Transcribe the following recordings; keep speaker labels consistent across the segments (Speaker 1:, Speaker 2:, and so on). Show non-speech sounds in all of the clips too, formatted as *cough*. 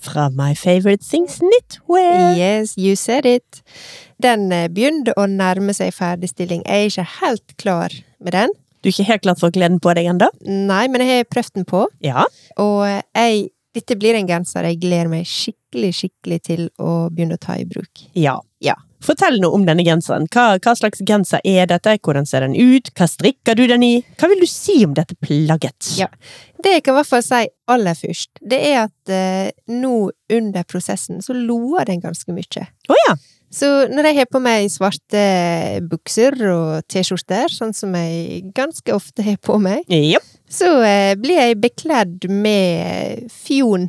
Speaker 1: Fra My Favorite Things Knitwear.
Speaker 2: Yes, you said it. Den eh, begynner å nærme seg ferdigstilling. Jeg er ikke helt klar med den.
Speaker 1: Du er ikke helt klart for gleden på deg ennå?
Speaker 2: Nei, men jeg har prøvd den på,
Speaker 1: Ja.
Speaker 2: og eh, jeg dette blir en genser jeg gleder meg skikkelig skikkelig til å begynne å ta i bruk.
Speaker 1: ja.
Speaker 2: Ja.
Speaker 1: Fortell noe om denne genseren. Hva, hva slags genser er dette? Hvordan ser den ut? Hva strikker du den i? Hva vil du si om dette plagget?
Speaker 2: Ja. Det jeg kan i hvert fall si aller først, det er at eh, nå under prosessen så loer den ganske mye.
Speaker 1: Å ja.
Speaker 2: Så når jeg har på meg svarte bukser og T-skjorter, sånn som jeg ganske ofte har på meg,
Speaker 1: Japp.
Speaker 2: så eh, blir jeg bekledd med fjon.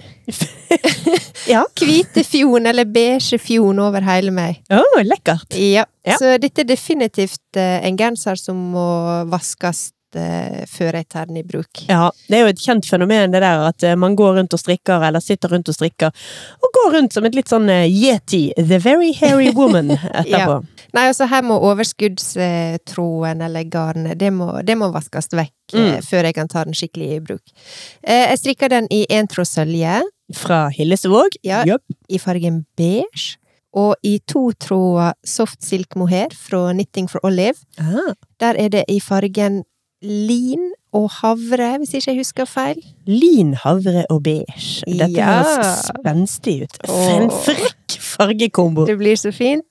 Speaker 1: Ja.
Speaker 2: Hvite fjon, eller beige fjon over hele meg.
Speaker 1: Å, lekkert.
Speaker 2: Ja.
Speaker 1: Ja.
Speaker 2: Så dette er definitivt eh, en genser som må vaskes eh, før jeg tar den i bruk.
Speaker 1: Ja, det er jo et kjent fenomen det der at eh, man går rundt og strikker, eller sitter rundt og strikker, og går rundt som et litt sånn eh, yeti, the very
Speaker 2: *laughs*
Speaker 1: hairy woman, etterpå.
Speaker 2: Nei, altså her må overskuddstråden eller garnet, det må, det må vaskes vekk
Speaker 1: Mm.
Speaker 2: eh, før jeg kan ta den skikkelig i bruk. Eh, jeg strikker den i en tråd sølje,
Speaker 1: Fra Hillesvåg.
Speaker 2: Ja.
Speaker 1: Japp.
Speaker 2: i fargen beige, og i to tråder soft silk mohair fra Knitting for Olive.
Speaker 1: Ah,
Speaker 2: Der er det i fargen lin og havre, hvis ikke jeg husker feil.
Speaker 1: lin, havre og beige. Dette
Speaker 2: Ja.
Speaker 1: høres spenstig ut. For en
Speaker 2: Åh.
Speaker 1: frekk fargekombo!
Speaker 2: Det blir så fint.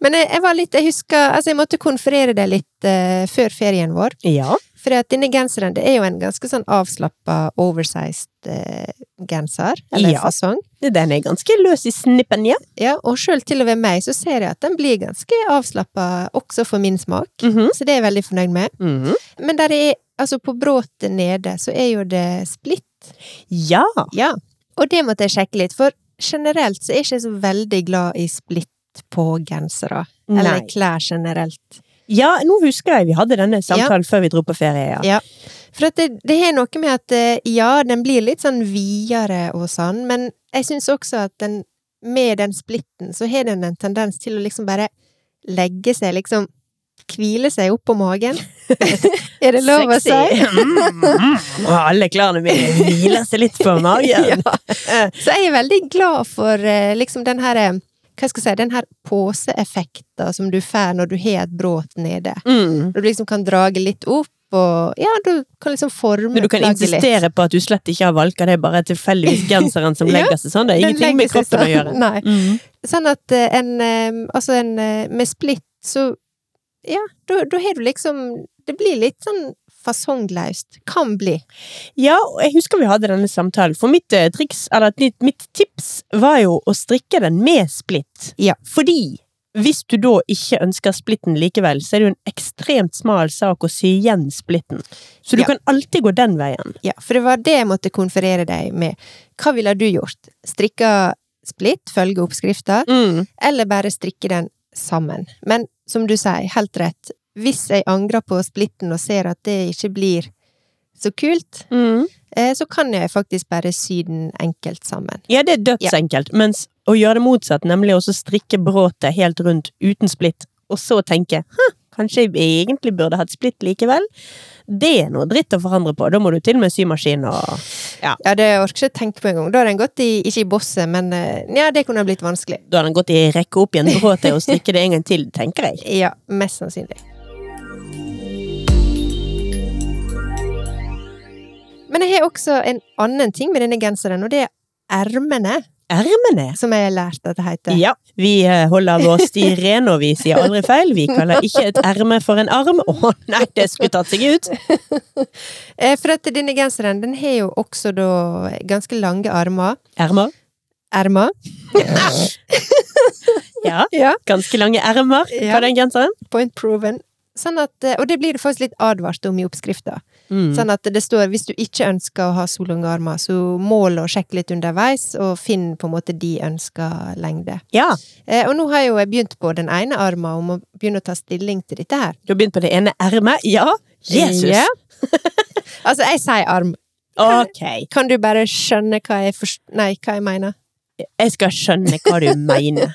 Speaker 2: Men jeg, jeg var litt, jeg husker, altså jeg måtte konferere det litt eh, før ferien vår.
Speaker 1: Ja.
Speaker 2: For at denne genseren det er jo en ganske sånn avslappa, oversized eh, genser, eller
Speaker 1: Ja.
Speaker 2: fasong.
Speaker 1: Den er ganske løs i snippen, ja.
Speaker 2: Ja, og sjøl til og med meg så ser jeg at den blir ganske avslappa også for min smak.
Speaker 1: Mhm.
Speaker 2: Så det er jeg veldig fornøyd med.
Speaker 1: Mhm.
Speaker 2: Men der er, altså på bråtet nede, så er jo det splitt.
Speaker 1: Ja.
Speaker 2: Ja. Og det måtte jeg sjekke litt, for generelt så er jeg ikke så veldig glad i splitt på gensere. Eller
Speaker 1: Nei.
Speaker 2: klær generelt.
Speaker 1: Ja, nå husker jeg vi hadde denne samtalen før vi dro på ferie, ja.
Speaker 2: Ja. For at det, det er noe med at eh, ja, den blir litt sånn videre og sånn, men jeg syns også at den med den splitten, så har den en tendens til å liksom bare legge seg, liksom hvile seg opp på magen. *laughs* er det lov å si?
Speaker 1: Sexy. *laughs* Mm. Alle klærne mine hviler seg litt på magen.
Speaker 2: *laughs*
Speaker 1: Eh,
Speaker 2: Ja. Så jeg er veldig glad for eh, liksom den her eh, hva skal jeg si, den her poseeffekten som du får når du har et bråt nede.
Speaker 1: Mm.
Speaker 2: Når du liksom kan drage litt opp, og ja, du kan liksom forme
Speaker 1: Men du kan
Speaker 2: plagget litt.
Speaker 1: insistere på at du slett ikke har valka, det er bare tilfeldigvis genseren som
Speaker 2: *laughs* Ja,
Speaker 1: legger seg sånn. Det er
Speaker 2: Den
Speaker 1: ingenting med
Speaker 2: legger seg
Speaker 1: kroppen å
Speaker 2: sånn.
Speaker 1: gjøre.
Speaker 2: *laughs* Nei.
Speaker 1: Mm.
Speaker 2: Sånn at eh, en eh, Altså en eh, med splitt, så Ja, da da har du liksom Det blir litt sånn fasonglaust. Kan bli.
Speaker 1: Ja, og jeg husker vi hadde denne samtalen, for mitt, eh, triks, eller, at mitt, mitt tips var jo å strikke den med splitt.
Speaker 2: Ja.
Speaker 1: Fordi hvis du da ikke ønsker splitten likevel, så er det jo en ekstremt smal sak å sy igjen splitten. Så du
Speaker 2: Ja.
Speaker 1: kan alltid gå den veien.
Speaker 2: Ja, for det var det jeg måtte konferere deg med. Hva ville du gjort? Strikka splitt, følge oppskrifta, eller bare strikke den sammen? Men som du sier, helt rett. Hvis jeg angrer på splitten og ser at det ikke blir så kult,
Speaker 1: Mm.
Speaker 2: eh, så kan jeg faktisk bare sy den enkelt sammen.
Speaker 1: Ja, det er dødsenkelt. Mens å gjøre det motsatt, nemlig også strikke bråtet helt rundt uten splitt, og så tenke «Hm, kanskje jeg egentlig burde hatt splitt likevel, det er noe dritt å forandre på. Da må du til og med symaskin og
Speaker 2: Ja, det orker jeg ikke tenke på engang. Da har den gått i, ikke i bosset, men eh, ja, det kunne ha blitt vanskelig.
Speaker 1: Da har den gått i rekke opp igjen bråtet og strikke det en gang til, tenker jeg.
Speaker 2: Ja, mest sannsynlig. Men jeg har også en annen ting med denne genseren, og det er ermene,
Speaker 1: Ermene!
Speaker 2: som jeg har lært at det heter.
Speaker 1: Ja, vi eh, holder vår sti ren, og vi sier aldri feil. Vi kaller ikke et erme for en arm. Å nei, det skulle tatt seg ut!
Speaker 2: Eh, For at denne genseren, den har jo også da ganske lange armer.
Speaker 1: Ermer.
Speaker 2: Ermer.
Speaker 1: Ja,
Speaker 2: Ja.
Speaker 1: ganske lange ermer på
Speaker 2: Ja.
Speaker 1: den genseren.
Speaker 2: Point proven. Sånn at, eh, og det blir det faktisk litt advart om i oppskrifta.
Speaker 1: Mm.
Speaker 2: Sånn at det står hvis du ikke ønsker å ha solungarmer, så mål og sjekk litt underveis, og finn på en måte de ønsker lengde.
Speaker 1: Ja,
Speaker 2: Eh, og nå har jo jeg begynt på den ene armen om å begynne å ta stilling til dette her.
Speaker 1: du har begynt på det ene ermet. Ja! Jesus!
Speaker 2: Ja. altså, jeg sier arm.
Speaker 1: Ok.
Speaker 2: Kan du bare skjønne hva jeg, forst nei, hva jeg mener?
Speaker 1: Jeg skal skjønne hva du mener.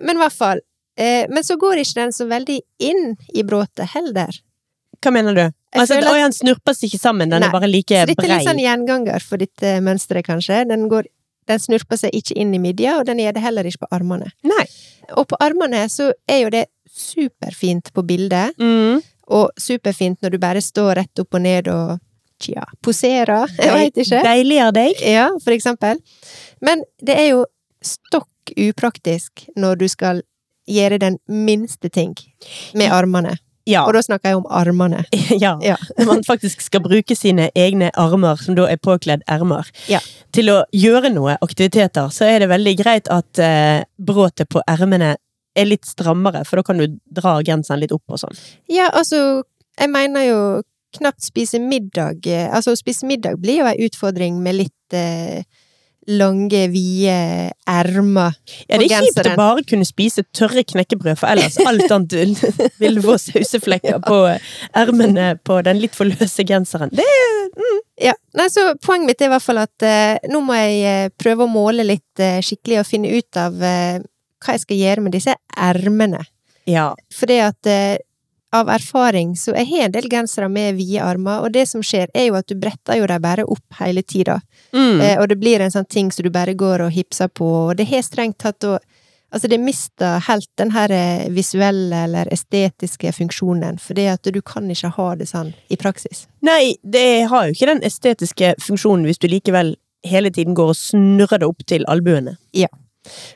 Speaker 2: Men i hvert fall. Eh, men så går ikke den så veldig inn i bråtet heller.
Speaker 1: Hva mener du?
Speaker 2: Jeg
Speaker 1: Altså,
Speaker 2: føler
Speaker 1: Oi,
Speaker 2: at,
Speaker 1: han snurper seg ikke sammen, den
Speaker 2: Nei.
Speaker 1: er bare
Speaker 2: så
Speaker 1: like
Speaker 2: dette er
Speaker 1: brei.
Speaker 2: litt sånn gjenganger for dette mønsteret, kanskje. Den, går, den snurper seg ikke inn i midja, og den gjør det heller ikke på armene.
Speaker 1: Nei.
Speaker 2: Og på armene så er jo det superfint på bildet,
Speaker 1: Mm.
Speaker 2: og superfint når du bare står rett opp og ned og tja, poserer, jeg veit ikke.
Speaker 1: Deiligere deg.
Speaker 2: Ja, for eksempel. Men det er jo stokk upraktisk når du skal gjøre den minste ting med armene.
Speaker 1: Ja.
Speaker 2: Og da snakker jeg om armene.
Speaker 1: *laughs* ja.
Speaker 2: Ja.
Speaker 1: Når man faktisk skal bruke sine egne armer, som da er påkledd ermer,
Speaker 2: Ja.
Speaker 1: til å gjøre noe aktiviteter, så er det veldig greit at eh, bråtet på ermene er litt strammere, for da kan du dra genseren litt opp og sånn.
Speaker 2: Ja, altså, jeg mener jo knapt spise middag. eh, Altså, å spise middag blir jo ei utfordring med litt eh, lange, vide ermer.
Speaker 1: Ja, det
Speaker 2: Og
Speaker 1: er kjipt å
Speaker 2: genseren.
Speaker 1: bare kunne spise tørre knekkebrød, for ellers alt annet vil- *laughs* vil du få
Speaker 2: *laughs*
Speaker 1: sauseflekker på ermene på den litt for løse genseren. Det
Speaker 2: Ja, nei, så Poenget mitt er i hvert fall at eh, nå må jeg eh, prøve å måle litt eh, skikkelig og finne ut av eh, hva jeg skal gjøre med disse ermene.
Speaker 1: Ja.
Speaker 2: Fordi at eh, av erfaring så jeg har en del gensere med vide armer, og det som skjer, er jo at du bretter jo dem bare opp hele tida.
Speaker 1: Mm.
Speaker 2: Eh, og det blir en sånn ting som du bare går og hipser på, og det har strengt tatt å Altså, det mister helt den her eh, visuelle eller estetiske funksjonen, fordi at du kan ikke ha det sånn i praksis.
Speaker 1: Nei, det har jo ikke den estetiske funksjonen hvis du likevel hele tiden går og snurrer det opp til albuene.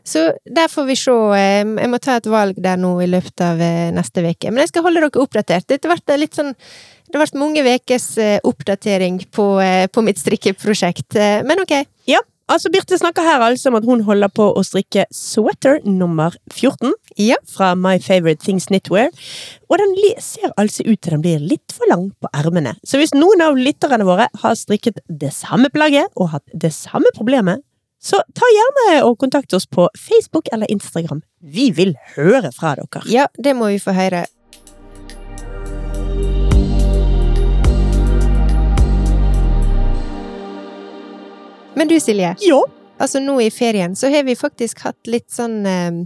Speaker 2: Så der får vi se. eh, Jeg må ta et valg der nå i løpet av eh, neste uke. Men jeg skal holde dere oppdatert. Dette ble litt sånn det har vært mange ukers eh, oppdatering på, eh, på mitt strikkeprosjekt. Eh, Men ok,
Speaker 1: Ja, altså Birte snakker her altså om at hun holder på å strikke sweater nummer 14
Speaker 2: Ja.
Speaker 1: fra My Favorite Things Knitwear. Og den li- ser altså ut til den blir litt for lang på ermene. Så hvis noen av lytterne våre har strikket det samme plagget og hatt det samme problemet, så ta gjerne og kontakt oss på Facebook eller Instagram. Vi vil høre fra dere.
Speaker 2: ja, det må vi få høre. Men du, Silje.
Speaker 1: Ja.
Speaker 2: Altså nå i ferien så har vi faktisk hatt litt sånn eh,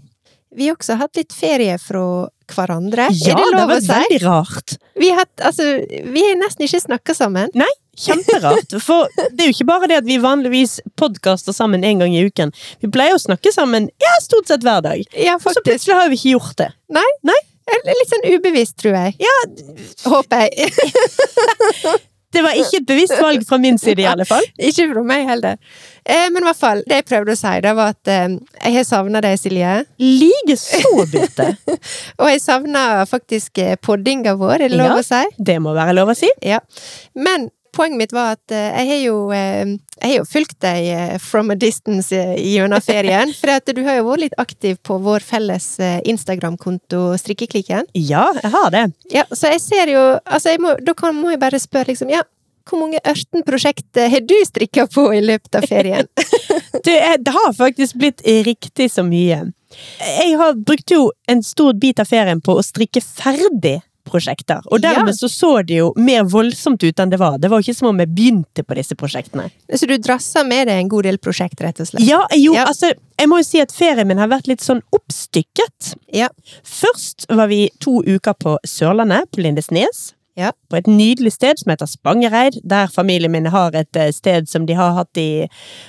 Speaker 2: Vi har også hatt litt ferie fra hverandre.
Speaker 1: Ja,
Speaker 2: er det
Speaker 1: det
Speaker 2: lov å
Speaker 1: var
Speaker 2: si?
Speaker 1: veldig rart.
Speaker 2: Vi har, hatt- altså, vi har nesten ikke snakka sammen.
Speaker 1: Kjemperart. For det er jo ikke bare det at vi vanligvis podkaster sammen en gang i uken. Vi pleier å snakke sammen ja, stort sett hver dag.
Speaker 2: Ja,
Speaker 1: Og så
Speaker 2: faktisk.
Speaker 1: plutselig har vi ikke gjort det.
Speaker 2: Eller Litt sånn ubevisst, tror jeg. Ja. Håper jeg. *laughs*
Speaker 1: Det var ikke et bevisst valg fra min side, i alle fall.
Speaker 2: ikke fra meg heller. Eh, men i hvert fall, det jeg prøvde å si, det var at eh, jeg har savna deg, Silje.
Speaker 1: Like så, Birte.
Speaker 2: Og jeg savna faktisk eh, poddinga vår, er det lov
Speaker 1: Ja.
Speaker 2: å si?
Speaker 1: Det må være lov å si.
Speaker 2: Ja. Men poenget mitt var at eh, jeg har jo, eh, jeg har jo fulgt deg eh, from a distance eh,
Speaker 1: *laughs*
Speaker 2: gjennom ferien. For at du har jo vært litt aktiv på vår felles eh, Instagram-konto Strikkeklikken.
Speaker 1: Ja, jeg har det.
Speaker 2: Ja, så jeg ser jo altså jeg må, Da kan, må jeg bare spørre, liksom ja, Hvor mange ørtenprosjekter har du strikka på i løpet av
Speaker 1: *laughs*
Speaker 2: ferien?
Speaker 1: Det, er, det har faktisk blitt riktig så mye. Jeg har brukt jo en stor bit av ferien på å strikke ferdig prosjekter. Og
Speaker 2: Ja.
Speaker 1: dermed så så det jo mer voldsomt ut enn det var. Det var jo ikke som om jeg begynte på disse prosjektene.
Speaker 2: så du drasser med deg en god del prosjekt, rett og slett?
Speaker 1: Ja, jo,
Speaker 2: Ja.
Speaker 1: altså, jeg må jo si at ferien min har vært litt sånn oppstykket.
Speaker 2: Ja.
Speaker 1: Først var vi to uker på Sørlandet, på Lindesnes.
Speaker 2: Ja.
Speaker 1: På et nydelig sted som heter Spangereid, der familien min har et eh, sted som de har hatt i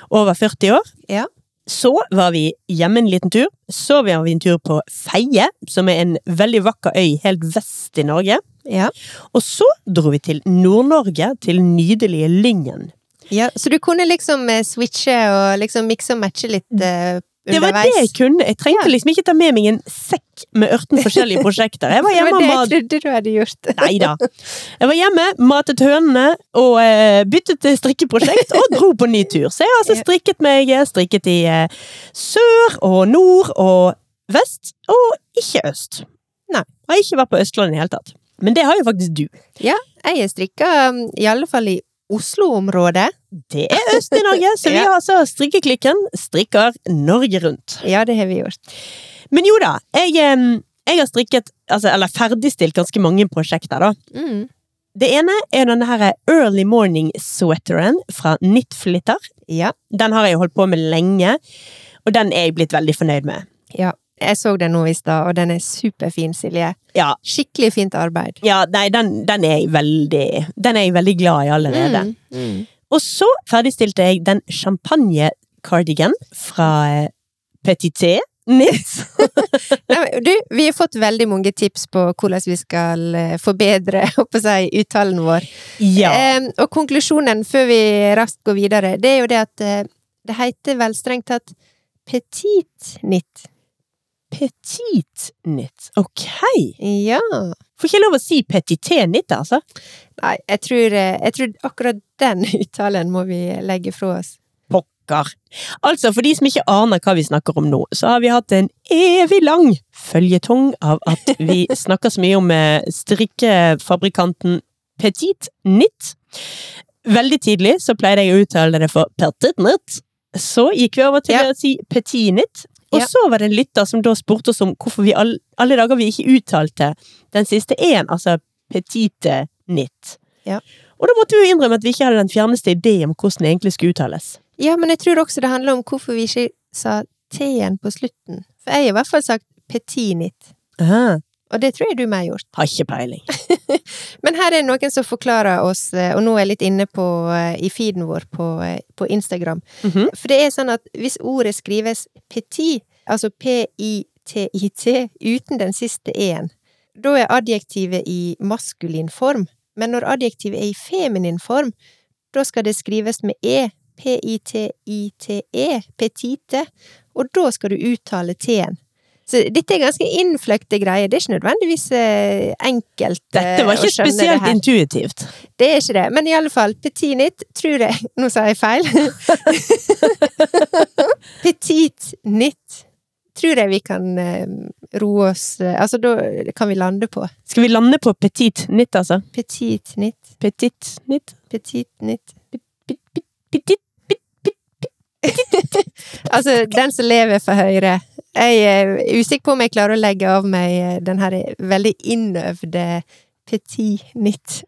Speaker 1: over 40 år.
Speaker 2: Ja.
Speaker 1: Så var vi hjemme en liten tur. Så var vi en tur på Feie, som er en veldig vakker øy helt vest i Norge.
Speaker 2: Ja.
Speaker 1: Og så dro vi til Nord-Norge, til nydelige Lyngen.
Speaker 2: ja. Så du kunne liksom eh, switche og liksom mikse og matche litt eh,
Speaker 1: Det var det
Speaker 2: underveis?
Speaker 1: jeg kunne. Jeg trengte liksom ikke ta med meg en sekk med 18
Speaker 2: *laughs*
Speaker 1: forskjellige prosjekter. Jeg var
Speaker 2: Det
Speaker 1: hjemme
Speaker 2: var
Speaker 1: og
Speaker 2: det jeg
Speaker 1: mat...
Speaker 2: trodde du hadde gjort.
Speaker 1: Nei da. Jeg var hjemme, matet hønene og eh, byttet til strikkeprosjekt og dro på ny tur. Så jeg har altså
Speaker 2: Ja.
Speaker 1: strikket meg. Jeg har strikket i eh, sør og nord og vest, og ikke øst.
Speaker 2: Nei.
Speaker 1: Jeg har ikke vært på Østlandet i det hele tatt. Men det har jo faktisk du.
Speaker 2: *laughs* Jeg har strikka, mm, i alle fall i Oslo-området.
Speaker 1: Det er øst i Norge, så vi
Speaker 2: *laughs* Ja.
Speaker 1: har altså strikkeklikken Strikker Norge rundt.
Speaker 2: Ja, det har vi gjort.
Speaker 1: Men jo da, jeg, em, jeg har strikket, altså, eller ferdigstilt ganske mange prosjekter da.
Speaker 2: Mm.
Speaker 1: Det ene er denne her Early Morning Sweateren fra Knitflitter.
Speaker 2: Ja.
Speaker 1: Den har jeg holdt på med lenge, og den er jeg blitt veldig fornøyd med.
Speaker 2: ja. Jeg så den nå i stad, og den er superfin, Silje.
Speaker 1: Ja,
Speaker 2: Skikkelig fint arbeid.
Speaker 1: ja nei, den, den, er jeg veldig, den er jeg veldig glad i allerede.
Speaker 2: Mm. Mm.
Speaker 1: Og så ferdigstilte jeg den champagne-cardigan fra eh, Petit T. Knits.
Speaker 2: Nei, men Du, vi har fått veldig mange tips på hvordan vi skal eh, forbedre *laughs* holdt på å si, uttalen vår.
Speaker 1: *laughs* Ja.
Speaker 2: Eh, og konklusjonen før vi raskt går videre, det er jo det at eh, det heter vel strengt tatt petit nitt.
Speaker 1: Petit knit. Ok.
Speaker 2: Ja.
Speaker 1: Får ikke jeg lov å si petit knit, altså?
Speaker 2: Nei, jeg tror, eh, jeg tror akkurat den *laughs* uttalen må vi legge fra oss.
Speaker 1: Pokker. Altså, for de som ikke aner hva vi snakker om nå, så har vi hatt en evig lang føljetong av at
Speaker 2: *laughs*
Speaker 1: vi snakker så mye om eh, strikkefabrikanten Petit Knit. Veldig tidlig så pleide jeg å uttale det for Petit Knit. Så gikk vi over til
Speaker 2: Ja.
Speaker 1: å si Petit Knit. Og
Speaker 2: Ja.
Speaker 1: så var det en lytter som da spurte oss om hvorfor vi all, alle dager vi ikke uttalte den siste én, altså Petite Knit.
Speaker 2: Ja.
Speaker 1: Og da måtte vi jo innrømme at vi ikke hadde den fjerneste idé om hvordan det egentlig skulle uttales.
Speaker 2: Ja, men jeg tror også det handler om hvorfor vi ikke sa t-en på slutten. For jeg har i hvert fall sagt petit nitt,
Speaker 1: Ah,
Speaker 2: og det tror jeg du meg har gjort.
Speaker 1: har ikke *laughs* peiling.
Speaker 2: Men her er noen som forklarer oss, eh, og nå er jeg litt inne på, eh, i feeden vår på, eh, på Instagram.
Speaker 1: Mhm.
Speaker 2: For det er sånn at hvis ordet skrives petit, altså p-i-t-i-t, uten den siste e-en, da er adjektivet i maskulin form. Men når adjektivet er i feminin form, da skal det skrives med e, p-i-t-i-t-e, E, petite, og da skal du uttale t-en. Så dette er ganske innfløkte greier, det er ikke nødvendigvis eh, enkelt
Speaker 1: Dette var
Speaker 2: eh, å
Speaker 1: ikke
Speaker 2: skjønne det
Speaker 1: spesielt
Speaker 2: her.
Speaker 1: intuitivt.
Speaker 2: Det er ikke det, men i alle fall, petit nitt tror jeg *laughs* Nå sa jeg feil. petit nitt tror jeg vi kan eh, roe oss eh, Altså, da kan vi lande på.
Speaker 1: Skal vi lande på petit nitt, altså?
Speaker 2: Petit nitt,
Speaker 1: Petit nitt?
Speaker 2: petit nitt
Speaker 1: Pit- pit- Petit?
Speaker 2: Altså, den som lever for høyre. Jeg eh, er usikker på om jeg klarer å legge av meg eh, den her veldig innøvde petit nitt.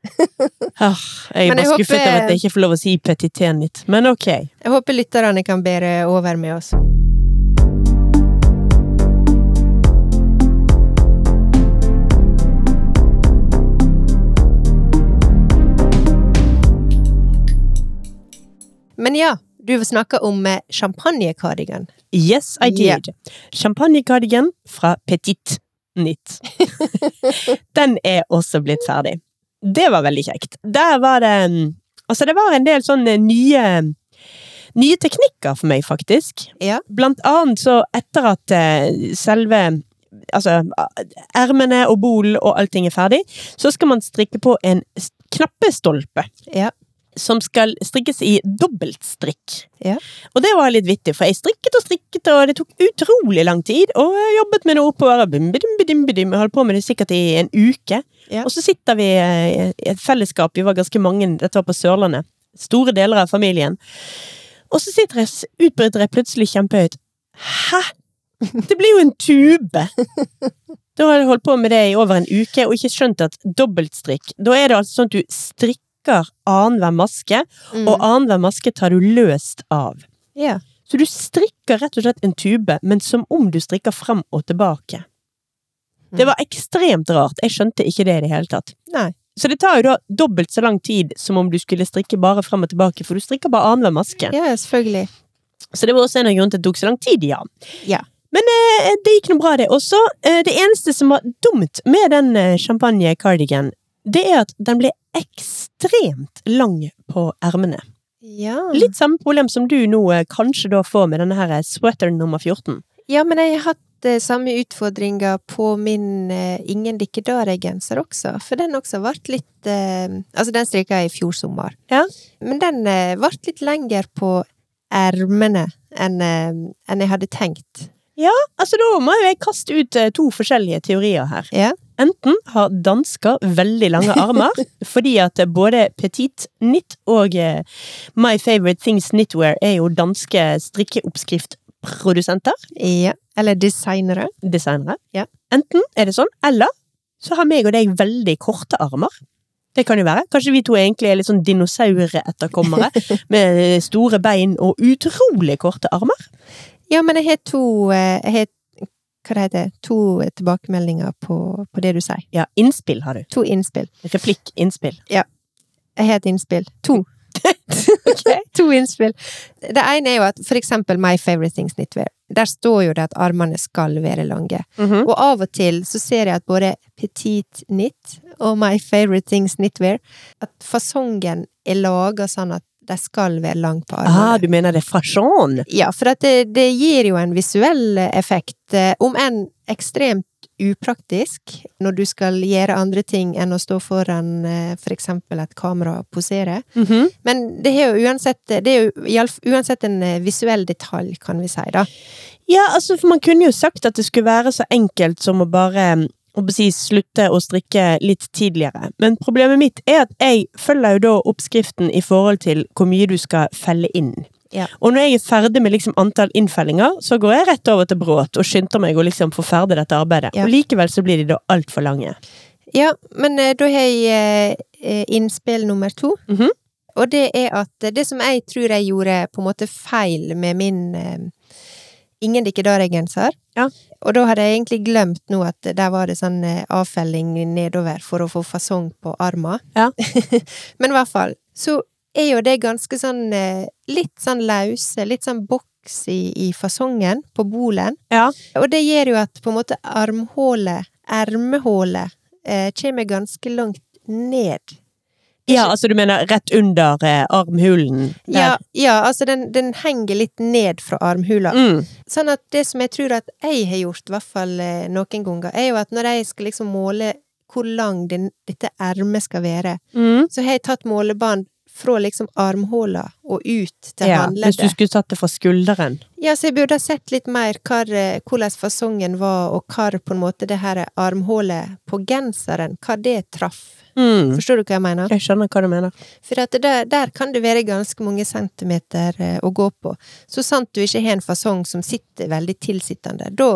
Speaker 1: Ah, jeg er
Speaker 2: Men jeg
Speaker 1: bare skuffet
Speaker 2: håper-
Speaker 1: over at jeg ikke får lov å si petit nitt. Men ok.
Speaker 2: Jeg håper lytterne kan bære over med oss. Men ja, du snakker om eh, champagnekardigan.
Speaker 1: Yes, I
Speaker 2: Ja.
Speaker 1: did. Champagne-cardigan fra Petit
Speaker 2: *laughs*
Speaker 1: Nitt. Den er også blitt ferdig. Det var veldig kjekt. Der var det mm, Altså, det var en del sånne nye Nye teknikker for meg, faktisk.
Speaker 2: Ja.
Speaker 1: Blant annet så etter at eh, selve Altså, a- ermene og bolen og allting er ferdig, så skal man strikke på en s- knappestolpe.
Speaker 2: Ja.
Speaker 1: Som skal strikkes i dobbeltstrikk.
Speaker 2: Ja.
Speaker 1: Og det var litt vittig, for jeg strikket og strikket, og det tok utrolig lang tid. Og jeg jobbet med det oppover. og bim, bidim, bidim, bidim. Jeg holdt på med det sikkert i en uke.
Speaker 2: Ja.
Speaker 1: Og så sitter vi eh, i et fellesskap, vi var ganske mange, dette var på Sørlandet. Store deler av familien. Og så sitter jeg, s- utbryter jeg plutselig kjempehøyt. Hæ? Det blir jo en tube! Da har jeg holdt på med det i over en uke, og ikke skjønt at dobbeltstrikk Da er det altså sånn at du strikker annenhver maske,
Speaker 2: Mm.
Speaker 1: og annenhver maske tar du løst av.
Speaker 2: ja.
Speaker 1: Så du strikker rett og slett en tube, men som om du strikker frem og tilbake. Det var ekstremt rart. Jeg skjønte ikke det i det hele tatt.
Speaker 2: Mm. Nei.
Speaker 1: Så det tar jo da dobbelt så lang tid som om du skulle strikke bare frem og tilbake, for du strikker bare annenhver maske.
Speaker 2: Ja, ja, selvfølgelig.
Speaker 1: Så det var også en av grunnene til at det tok så lang tid, ja.
Speaker 2: Ja.
Speaker 1: Men eh, det gikk noe bra, det også. Eh, det eneste som var dumt med den eh, champagne-cardigan, det er at den ble ekstremt lang på ermene.
Speaker 2: Ja.
Speaker 1: Litt samme problem som du nå eh, kanskje da får med denne her eh, sweater nummer 14.
Speaker 2: ja, men jeg har hatt eh, samme utfordringer på min eh, Ingen dikkedare-genser også, for den også ble litt eh, Altså, den strikka jeg i fjor sommer.
Speaker 1: Ja.
Speaker 2: Men den eh, ble litt lengre på ermene enn eh, enn jeg hadde tenkt.
Speaker 1: Altså, da må jo jeg kaste ut eh, to forskjellige teorier her.
Speaker 2: Ja.
Speaker 1: Enten har dansker veldig lange armer, fordi at eh, både Petit Knit og eh, My Favorite Things Knitwear er jo danske strikkeoppskriftprodusenter,
Speaker 2: Ja. Eller designere.
Speaker 1: designere.
Speaker 2: Ja.
Speaker 1: Enten er det sånn, eller så har meg og deg veldig korte armer. Det kan jo være. Kanskje vi to egentlig er litt sånn *laughs* dinosauretterkommere med eh, store bein og utrolig korte armer.
Speaker 2: Ja, men jeg har to eh, Jeg har hva det heter To eh, tilbakemeldinger på, på det du sier.
Speaker 1: Ja, innspill har du.
Speaker 2: To innspill.
Speaker 1: Replikk-innspill.
Speaker 2: Jeg har et innspill. *laughs* To. to innspill. Det ene er jo at for eksempel My Favorite Things Knitwear. Der står jo det at armene skal være lange.
Speaker 1: Mhm.
Speaker 2: Og av og til så ser jeg at både Petit Knit og My Favorite Things Knitwear At fasongen er laga sånn at de skal være lang på
Speaker 1: Ah,
Speaker 2: armene.
Speaker 1: du mener det er fasjon?
Speaker 2: Ja, for at det, det gir jo en visuell effekt, eh, om enn ekstremt upraktisk når du skal gjøre andre ting enn å stå foran eh, for eksempel et kamera og posere.
Speaker 1: Mhm.
Speaker 2: Men det er jo uansett, det er jo i alle f- uansett en eh, visuell detalj, kan vi si, da.
Speaker 1: Ja, altså, for man kunne jo sagt at det skulle være så enkelt som å bare mm, å si, slutte å strikke litt tidligere. Men problemet mitt er at jeg følger jo da oppskriften i forhold til hvor mye du skal felle inn.
Speaker 2: Ja.
Speaker 1: Og når jeg er ferdig med liksom antall innfellinger, så går jeg rett over til bråt og skynder meg å liksom få ferdig dette arbeidet.
Speaker 2: Ja.
Speaker 1: Og likevel så blir de da altfor lange.
Speaker 2: Ja, men eh, da har jeg eh, innspill nummer to.
Speaker 1: Mhm.
Speaker 2: Og det er at eh, det som jeg tror jeg gjorde på en måte feil med min eh, Ingen dikkedare-genser.
Speaker 1: Ja.
Speaker 2: Og da hadde jeg egentlig glemt nå at eh, der var det sånn eh, avfelling nedover for å få fasong på armen.
Speaker 1: Ja.
Speaker 2: *laughs* men i hvert fall, så er jo det ganske sånn eh, litt sånn lause, litt sånn boks i, i fasongen på bolen.
Speaker 1: Ja.
Speaker 2: Og det gjør jo at på en måte armhålet, ermehålet, eh, kommer ganske langt ned.
Speaker 1: Ja, altså du mener rett under eh, armhulen? der.
Speaker 2: Ja, ja altså den, den henger litt ned fra armhula.
Speaker 1: Mm.
Speaker 2: Sånn at det som jeg tror at jeg har gjort, i hvert fall eh, noen ganger, er jo at når jeg skal liksom måle hvor lang den, dette ermet skal være,
Speaker 1: Mm.
Speaker 2: så har jeg tatt målebånd fra liksom armhula og ut til
Speaker 1: Ja, hvis du
Speaker 2: håndleddet.
Speaker 1: skulle tatt det fra skulderen.
Speaker 2: Ja, så jeg burde ha sett litt mer hva, hvordan fasongen var, og hva på en måte det her armhålet på genseren, hva det traff.
Speaker 1: Mm.
Speaker 2: Forstår du hva jeg mener?
Speaker 1: Jeg skjønner hva du mener.
Speaker 2: For at der, der kan det være ganske mange centimeter eh, å gå på. Så sant du ikke har en fasong som sitter veldig tilsittende, da,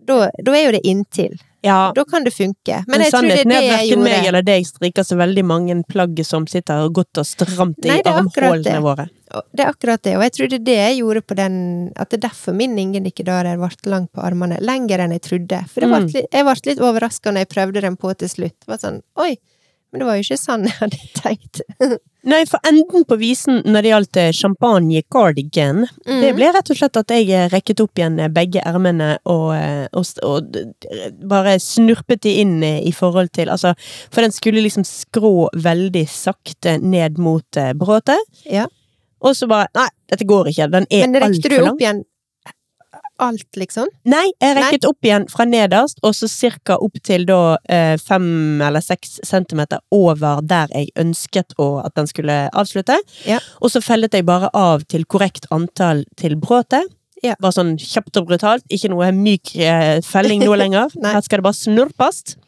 Speaker 2: da, da er jo det inntil.
Speaker 1: Ja,
Speaker 2: Da kan det funke. Men,
Speaker 1: Men,
Speaker 2: jeg tror det er
Speaker 1: sannheten
Speaker 2: det
Speaker 1: er at
Speaker 2: jeg
Speaker 1: verken
Speaker 2: gjorde.
Speaker 1: meg eller deg strikker så veldig mange plagg som sitter godt og stramt i
Speaker 2: Nei, det er akkurat det.
Speaker 1: armhålene våre.
Speaker 2: Og Det er akkurat det, og jeg tror det er det jeg gjorde på den At det er derfor min ingen dikkedarer ble lang på armene, lenger enn jeg trodde. For det
Speaker 1: Mm.
Speaker 2: vart litt, jeg ble litt overraska når jeg prøvde den på til slutt. Det var sånn, oi, men det var jo ikke sånn jeg hadde tenkt.
Speaker 1: Nei, for enden på visen når det gjaldt eh, champagne cardigan,
Speaker 2: Mm.
Speaker 1: det ble rett og slett at jeg eh, rekket opp igjen eh, begge ermene og, eh, og, s- og d- d- bare snurpet de inn eh, i forhold til Altså, for den skulle liksom skrå veldig sakte ned mot eh, bråtet.
Speaker 2: Ja.
Speaker 1: Og så bare Nei, dette går ikke. Den er
Speaker 2: Men rekte
Speaker 1: altfor
Speaker 2: du
Speaker 1: lang.
Speaker 2: opp igjen alt, liksom?
Speaker 1: Nei, jeg rekket opp igjen fra nederst, og så cirka opp til da eh, fem eller seks centimeter over der jeg ønsket å, at den skulle avslutte.
Speaker 2: Ja.
Speaker 1: Og så fellet jeg bare av til korrekt antall til bråtet.
Speaker 2: Ja.
Speaker 1: Bare sånn kjapt og brutalt. Ikke noe myk eh, felling nå *laughs* lenger.
Speaker 2: Nei.
Speaker 1: Her skal det bare snurpast.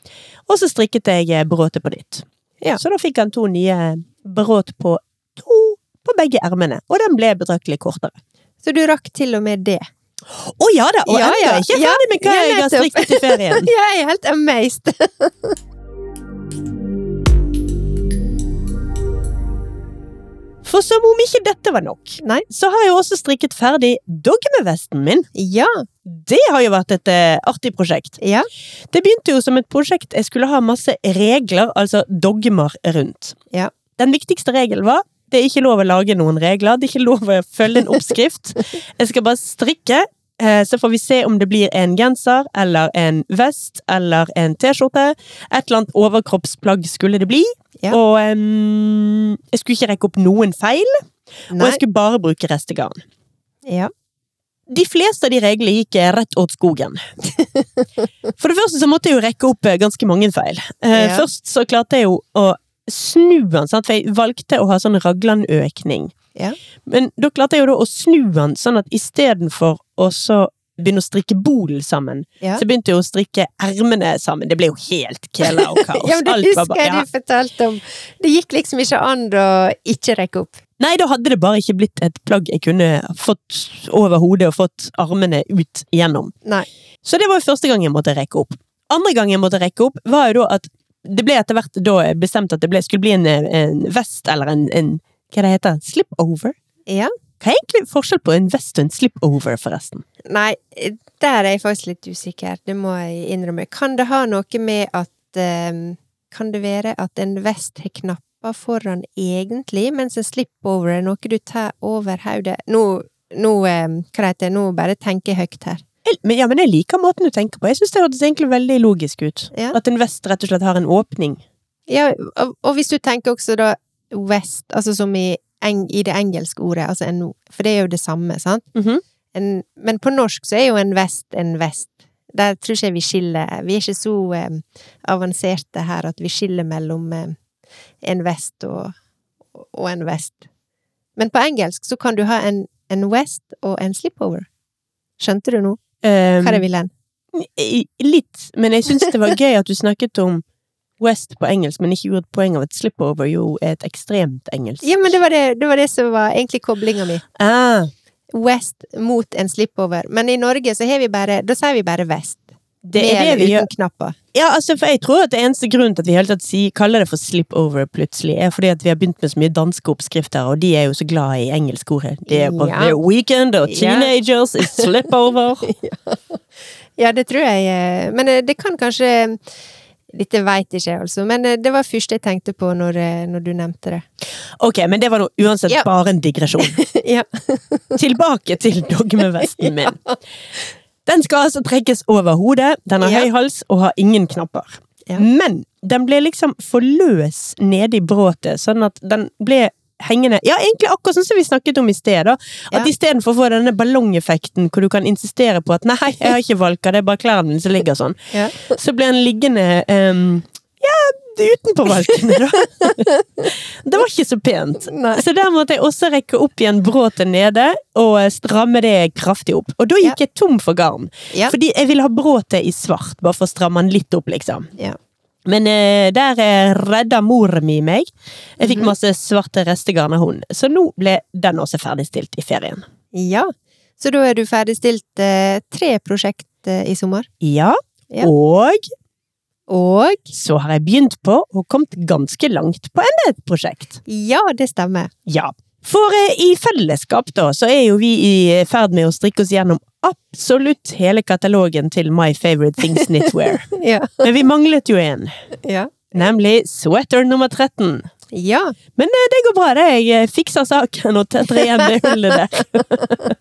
Speaker 1: Og så strikket jeg eh, bråtet på nytt.
Speaker 2: Ja.
Speaker 1: Så da fikk han to nye bråt på to på begge ermene, og den ble betraktelig kortere.
Speaker 2: Så du rakk til og med det. *laughs*
Speaker 1: Å ja da! Og
Speaker 2: Ja,
Speaker 1: ennå
Speaker 2: ja.
Speaker 1: ikke
Speaker 2: Ja,
Speaker 1: ferdig med hva
Speaker 2: ja,
Speaker 1: jeg har
Speaker 2: nettopp.
Speaker 1: strikket i ferien.
Speaker 2: Jeg er helt amazed.
Speaker 1: For som om ikke dette var nok,
Speaker 2: Nei.
Speaker 1: så har jeg også strikket ferdig dogmevesten min.
Speaker 2: Ja.
Speaker 1: Det har jo vært et eh, artig prosjekt.
Speaker 2: Ja.
Speaker 1: Det begynte jo som et prosjekt jeg skulle ha masse regler, altså dogmer, rundt.
Speaker 2: Ja.
Speaker 1: Den viktigste regelen var det er ikke lov å lage noen regler, det er ikke lov å følge en
Speaker 2: *laughs*
Speaker 1: oppskrift. Jeg skal bare strikke, eh, så får vi se om det blir en genser, eller en vest, eller en T-skjorte. Et eller annet overkroppsplagg skulle det bli.
Speaker 2: Ja.
Speaker 1: Og ehm, jeg skulle ikke rekke opp noen feil, og
Speaker 2: Nei.
Speaker 1: jeg skulle bare bruke restegarn.
Speaker 2: Ja.
Speaker 1: De fleste av de reglene gikk eh, rett åt
Speaker 2: *laughs*
Speaker 1: skogen. For det første så måtte jeg jo rekke opp eh, ganske mange feil. Eh,
Speaker 2: Ja.
Speaker 1: Først så klarte jeg jo å snu den, sant? for jeg valgte å ha sånn raglanøkning.
Speaker 2: Ja.
Speaker 1: Men da klarte jeg jo da å snu den, sånn at istedenfor å så begynne å strikke bolen sammen.
Speaker 2: Ja.
Speaker 1: Så begynte jeg å strikke ermene sammen. Det ble jo helt kela og kaos.
Speaker 2: *laughs* Ja, men
Speaker 1: Alt
Speaker 2: det
Speaker 1: var
Speaker 2: husker
Speaker 1: bare-
Speaker 2: jeg
Speaker 1: ja.
Speaker 2: du fortalte om. Det gikk liksom ikke an å ikke rekke opp.
Speaker 1: Nei, da hadde det bare ikke blitt et plagg jeg kunne fått over hodet og fått armene ut igjennom.
Speaker 2: Nei.
Speaker 1: Så det var jo første gang jeg måtte rekke opp. Andre gang jeg måtte rekke opp, var jo da at det ble etter hvert da bestemt at det ble, skulle bli en, en vest eller en, en Hva det heter Slipover?
Speaker 2: Ja.
Speaker 1: Hva er egentlig forskjell på en vest og en slipover, forresten?
Speaker 2: Nei, der er jeg faktisk litt usikker. Det må jeg innrømme. Kan det ha noe med at eh, Kan det være at en vest har knapper foran egentlig, mens en slipover er noe du tar over hodet Nå, nå eh, hva heter det, nå bare tenker jeg høyt her.
Speaker 1: Jeg- Men, ja, men jeg liker måten du tenker på. Jeg synes det hørtes egentlig veldig logisk ut.
Speaker 2: Ja.
Speaker 1: At en vest rett og slett har en åpning.
Speaker 2: Ja, og, og hvis du tenker også da west, altså som i, eng, i det engelske ordet, altså en, for det er jo det samme, sant?
Speaker 1: Mhm.
Speaker 2: en, men på norsk så er jo en vest en vest. Der tror ikke jeg vi skiller Vi er ikke så eh, avanserte her at vi skiller mellom eh, en vest og, og en vest. Men på engelsk så kan du ha en, en west og en slipover. Skjønte du nå
Speaker 1: Um,
Speaker 2: hva jeg vil hen?
Speaker 1: I- Litt, men jeg syns det
Speaker 2: *laughs*
Speaker 1: var gøy at du snakket om West på engelsk, men ikke gjorde et poeng av at slipover jo er et ekstremt engelsk.
Speaker 2: Ja, men det var det, det var det som var egentlig koblinga mi.
Speaker 1: Ah,
Speaker 2: West mot en slipover. Men i Norge så har vi bare Da sier vi bare vest.
Speaker 1: det er det
Speaker 2: eller
Speaker 1: vi gjør.
Speaker 2: uten knapper.
Speaker 1: Ja, altså, for jeg tror at det eneste grunnen til at vi i hele tatt sier, kaller det for slipover plutselig, er fordi at vi har begynt med så mye danske oppskrifter, og de er jo så glad i engelske ordet. Det er både
Speaker 2: Ja.
Speaker 1: weekend og
Speaker 2: Ja.
Speaker 1: teenagers is
Speaker 2: *laughs*
Speaker 1: slipover.
Speaker 2: Ja, det tror jeg. eh, Men eh, det kan kanskje Dette veit ikke jeg, altså. Men eh, det var første jeg tenkte på når, eh, når du
Speaker 1: *laughs*
Speaker 2: nevnte det.
Speaker 1: Ok, men det var nå uansett
Speaker 2: Ja.
Speaker 1: bare en digresjon.
Speaker 2: ja.
Speaker 1: Tilbake til dogmevesten min. Den skal altså trekkes over hodet, den har
Speaker 2: Ja.
Speaker 1: høy hals og har ingen knapper.
Speaker 2: Ja.
Speaker 1: Men den ble liksom for løs nede i bråtet, sånn at den ble hengende Ja, egentlig akkurat sånn som vi snakket om i sted, da. At
Speaker 2: Ja.
Speaker 1: istedenfor å få denne ballongeffekten hvor du kan insistere på at 'nei, jeg har ikke valka, det er bare klærne mine som ligger sånn',
Speaker 2: Ja.
Speaker 1: så ble den liggende ehm, ja, utenpå valkene, da. *laughs* Det var ikke så pent.
Speaker 2: Nei.
Speaker 1: Så der måtte jeg også rekke opp igjen bråtet nede og eh, stramme det kraftig opp. Og da gikk jeg tom for garn.
Speaker 2: Ja.
Speaker 1: Fordi jeg ville ha bråtet i svart, bare for å stramme den litt opp, liksom.
Speaker 2: Ja.
Speaker 1: Men eh, der eh, redda mor mi meg. Jeg
Speaker 2: Mhm.
Speaker 1: fikk masse svarte restegarn av hun. Så nå ble den også ferdigstilt i ferien.
Speaker 2: ja. Så da er du ferdigstilt eh, tre prosjekt eh, i sommer.
Speaker 1: Ja,
Speaker 2: Ja.
Speaker 1: og
Speaker 2: Og
Speaker 1: så har jeg begynt på og kommet ganske langt på enda et prosjekt.
Speaker 2: ja, det stemmer.
Speaker 1: Ja. For eh, i fellesskap, da, så er jo vi i eh, ferd med å strikke oss gjennom absolutt hele katalogen til My Favorite Things Knitwear.
Speaker 2: Ja.
Speaker 1: Men vi manglet jo en,
Speaker 2: Ja.
Speaker 1: nemlig sweater nummer 13.
Speaker 2: ja.
Speaker 1: Men eh, det går bra, det. Jeg eh, fikser saken og tetter igjen det hullet der.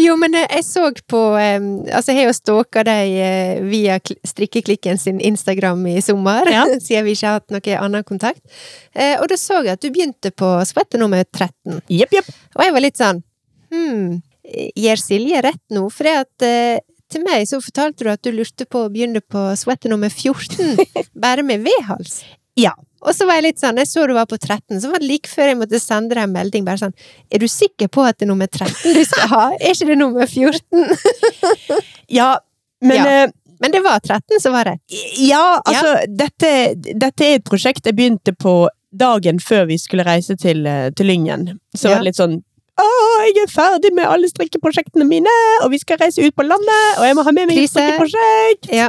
Speaker 2: Jo, men eh, jeg så på eh, Altså, jeg har jo stalka deg eh, via kl- strikkeklikken sin Instagram i sommer,
Speaker 1: Ja.
Speaker 2: *laughs* siden vi ikke har hatt noe annen kontakt. Eh, og da så jeg at du begynte på sweater nummer 13.
Speaker 1: Jepp, jepp.
Speaker 2: Og jeg var litt sånn Hm, gjør Silje rett nå? For det at eh, til meg så fortalte du at du lurte på å begynne på sweater nummer
Speaker 1: *laughs*
Speaker 2: 14, bare med V-hals.
Speaker 1: Ja.
Speaker 2: Og så var jeg litt sånn, jeg så du var på 13, så var det like før jeg måtte sende deg en melding, bare sånn, er du sikker på at det er nummer 13 du skal ha? Er ikke det nummer 14?
Speaker 1: Ja, men
Speaker 2: Ja.
Speaker 1: eh,
Speaker 2: Men det var 13 som var rett.
Speaker 1: Ja, altså, Dette, dette er et prosjekt jeg begynte på dagen før vi skulle reise til, eh, til Lyngen. Så
Speaker 2: Ja.
Speaker 1: var det litt sånn Å, jeg er ferdig med alle strikkeprosjektene mine, og vi skal reise ut på landet, og jeg må ha med meg et
Speaker 2: Krise.
Speaker 1: strikkeprosjekt!
Speaker 2: Ja.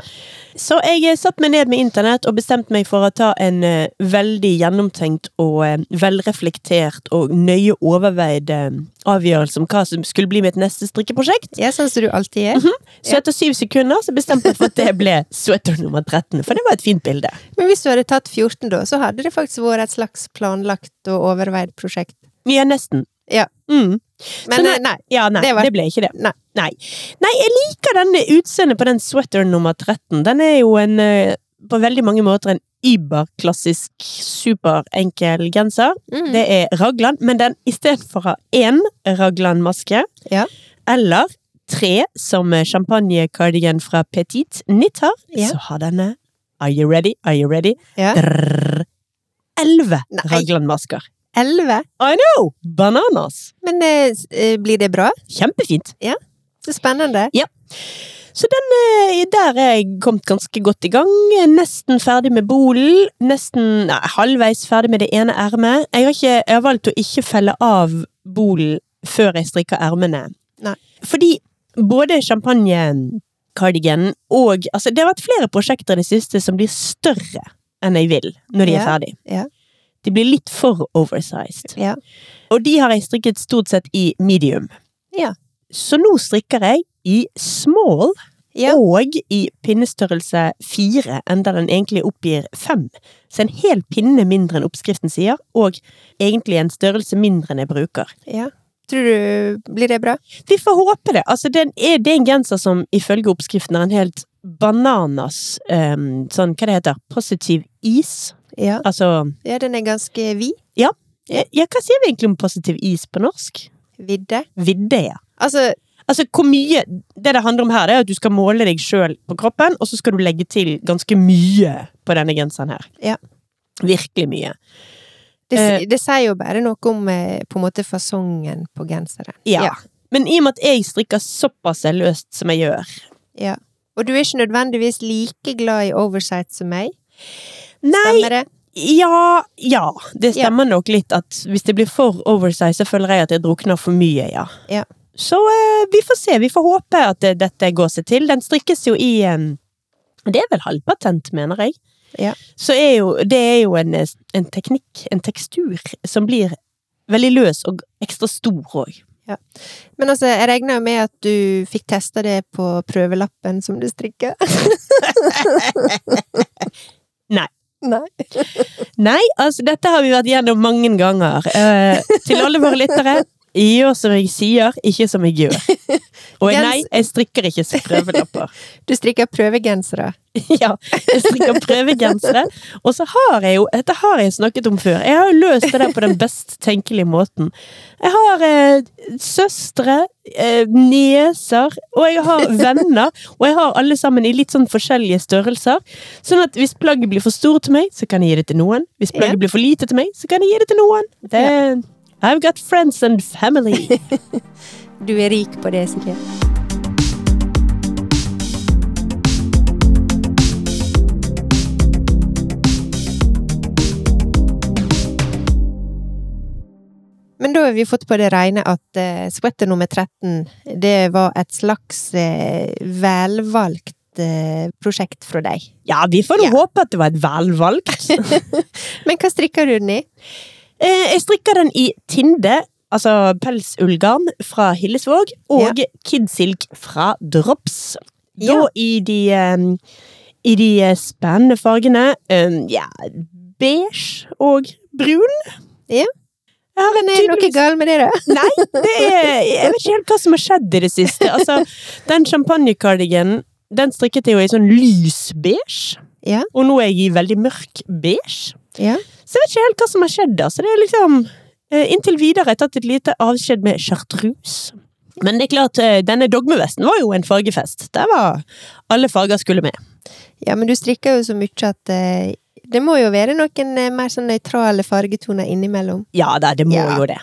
Speaker 1: Så jeg eh, satt meg ned med internett og bestemte meg for å ta en eh, veldig gjennomtenkt og eh, velreflektert og nøye overveid eh, avgjørelse om hva som skulle bli mitt neste strikkeprosjekt.
Speaker 2: Ja, sånn som du alltid er.
Speaker 1: Så etter syv sekunder så bestemte jeg for at det ble sweater nummer 13, for det var et fint bilde.
Speaker 2: Men hvis du hadde tatt 14 da, så hadde det faktisk vært et slags planlagt og overveid prosjekt.
Speaker 1: Ja, nesten.
Speaker 2: Ja.
Speaker 1: Mm. Så
Speaker 2: Men
Speaker 1: nå-
Speaker 2: eh, nei,
Speaker 1: Ja, nei, det,
Speaker 2: Det var-
Speaker 1: ble ikke det.
Speaker 2: Nei.
Speaker 1: Nei. Nei, jeg liker denne utseendet på den sweater nummer 13. Den er jo en eh, på veldig mange måter en überklassisk, superenkel genser.
Speaker 2: Mm.
Speaker 1: Det er raglan, men den istedenfor å ha én raglanmaske,
Speaker 2: Ja.
Speaker 1: eller tre som champagne-cardigan fra Petit Knit har,
Speaker 2: Ja.
Speaker 1: så har denne Are you ready? Are you ready?
Speaker 2: Ja.
Speaker 1: Drrrr. Elleve
Speaker 2: Nei.
Speaker 1: raglanmasker.
Speaker 2: 11.
Speaker 1: I know! Bananas!
Speaker 2: Men eh, s- eh, blir det bra?
Speaker 1: Kjempefint.
Speaker 2: Så spennende.
Speaker 1: Ja. Så den, eh, der er jeg kommet ganske godt i gang. Jeg er Nesten ferdig med bolen. Nesten nei, halvveis ferdig med det ene ermet. Jeg har, ikke, jeg har valgt å ikke felle av bolen før jeg strikker ermene.
Speaker 2: Nei.
Speaker 1: Fordi både champagne-kardigan og altså, Det har vært flere prosjekter i det siste som blir større enn jeg vil når de
Speaker 2: Ja,
Speaker 1: er ferdig.
Speaker 2: ja.
Speaker 1: De blir litt for oversized.
Speaker 2: Ja.
Speaker 1: Og de har jeg strikket stort sett i medium.
Speaker 2: Ja.
Speaker 1: Så nå strikker jeg i small
Speaker 2: Ja.
Speaker 1: og i pinnestørrelse fire, enda den egentlig oppgir fem. Så en hel pinne mindre enn oppskriften sier, og egentlig en størrelse mindre enn jeg bruker.
Speaker 2: ja. Tror du Blir det bra?
Speaker 1: Vi får håpe det. Altså, det er, det er en genser som ifølge oppskriften er en helt bananas ehm, Sånn, hva det heter Positiv is.
Speaker 2: Ja.
Speaker 1: Altså
Speaker 2: ja den er ganske vid.
Speaker 1: ja, ja, hva sier vi egentlig om positiv is på norsk?
Speaker 2: Vidde.
Speaker 1: Vidde, ja.
Speaker 2: Altså,
Speaker 1: Altså, hvor mye Det det handler om her, det er at du skal måle deg sjøl på kroppen, og så skal du legge til ganske mye på denne genseren her.
Speaker 2: Ja.
Speaker 1: Virkelig mye.
Speaker 2: det,
Speaker 1: Eh.
Speaker 2: det sier jo bare noe om eh, på en måte fasongen på genseren.
Speaker 1: Ja.
Speaker 2: Ja.
Speaker 1: Men i og med at jeg strikker såpass løst som jeg gjør
Speaker 2: Ja. Og du er ikke nødvendigvis like glad i oversight som meg.
Speaker 1: Nei,
Speaker 2: Stemmer det?
Speaker 1: ja, ja. Det
Speaker 2: Ja.
Speaker 1: stemmer nok litt at hvis det blir for oversize, så føler jeg at jeg drukner for mye, ja.
Speaker 2: Ja.
Speaker 1: Så eh, vi får se. Vi får håpe at eh, dette går seg til. Den strikkes jo i eh, Det er vel halvpatent, mener jeg.
Speaker 2: Ja.
Speaker 1: Så er jo, det er jo en, eh, en teknikk, en tekstur, som blir veldig løs og ekstra stor òg.
Speaker 2: Men altså, jeg regner jo med at du fikk testa det på prøvelappen som du *laughs* strikka.
Speaker 1: Nei.
Speaker 2: Nei.
Speaker 1: Nei, altså dette har vi vært gjennom mange ganger. Eh, til alle våre lyttere. Gjør som jeg sier, ikke som jeg gjør. Og nei, jeg strikker ikke prøvelapper.
Speaker 2: Du strikker prøvegensere.
Speaker 1: *laughs* Ja, jeg strikker prøvegensere. Og så har jeg jo Dette har jeg snakket om før. Jeg har jo løst det der på den best tenkelige måten. Jeg har eh, søstre, eh, nieser, og jeg har venner. Og jeg har alle sammen i litt sånn forskjellige størrelser. Sånn at hvis plagget blir for stort til meg, så kan jeg gi det til noen. Hvis plagget blir for lite til meg, så kan jeg gi det til noen. Det, I've got friends and family.
Speaker 2: Du er rik på det, Silje. Men da har vi fått på det rene at eh, sweater nummer 13, det var et slags eh, velvalgt eh, prosjekt fra deg.
Speaker 1: Ja, vi får nå
Speaker 2: Ja.
Speaker 1: håpe at det var et velvalgt.
Speaker 2: Men hva strikker du den i?
Speaker 1: Eh, jeg strikker den i Tinde, altså pelsullgarn fra Hillesvåg, og Kidsilk fra Drops. Da
Speaker 2: Ja.
Speaker 1: i de, eh, i de eh, spennende fargene eh, ja, beige og brun.
Speaker 2: Ja.
Speaker 1: Jeg har
Speaker 2: Men er det noe
Speaker 1: tydeligvis-
Speaker 2: galt med det, da?
Speaker 1: Nei, det er, jeg vet ikke helt hva som har skjedd i det siste. Altså,
Speaker 2: *laughs*
Speaker 1: den champagnekardiganen, den strikket jeg jo i sånn lys beige.
Speaker 2: Ja.
Speaker 1: Og nå er jeg i veldig mørk beige.
Speaker 2: *laughs* Ja.
Speaker 1: Så jeg vet ikke helt hva som har skjedd der. Så det er liksom eh, Inntil videre har jeg tatt et lite avskjed med chartreuse. Men det er klart, eh, denne dogmevesten var jo en fargefest. Der var alle farger skulle med.
Speaker 2: Ja, men du strikker jo så mye at eh, det må jo være noen eh, mer sånn nøytrale fargetoner innimellom.
Speaker 1: Ja da, det må
Speaker 2: Ja.
Speaker 1: jo det.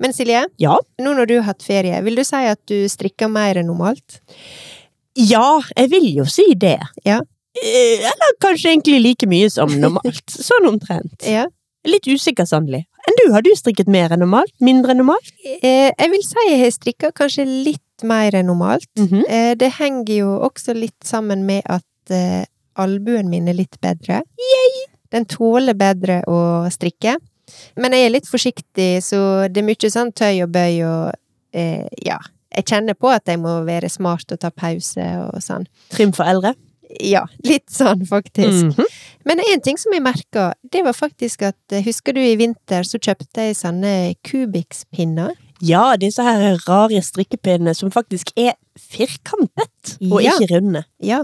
Speaker 2: Men Silje,
Speaker 1: Ja.
Speaker 2: nå når du har hatt ferie, vil du si at du strikker mer enn normalt?
Speaker 1: Ja, jeg vil jo si det.
Speaker 2: Ja.
Speaker 1: Eh, Eller kanskje egentlig like mye som
Speaker 2: *laughs*
Speaker 1: normalt. Sånn omtrent.
Speaker 2: Ja.
Speaker 1: Litt usikker, sannelig. Enn du, har du strikket mer enn normalt? Mindre enn normalt?
Speaker 2: Eh, jeg vil si jeg har strikka kanskje litt mer enn normalt.
Speaker 1: Mhm.
Speaker 2: Eh, det henger jo også litt sammen med at eh, albuen min er litt bedre. Den tåler bedre å strikke. Men jeg er litt forsiktig, så det er mye sånn tøy og bøy og eh, ja. Jeg kjenner på at jeg må være smart og ta pause og sånn.
Speaker 1: Trim for eldre?
Speaker 2: Ja, litt sånn, faktisk.
Speaker 1: Mhm.
Speaker 2: Men en ting som jeg merka, det var faktisk at eh, Husker du i vinter så kjøpte jeg sånne Kubikspinner?
Speaker 1: Ja, disse her rare strikkepinnene som faktisk er firkantet, og
Speaker 2: Ja.
Speaker 1: ikke runde.
Speaker 2: Ja.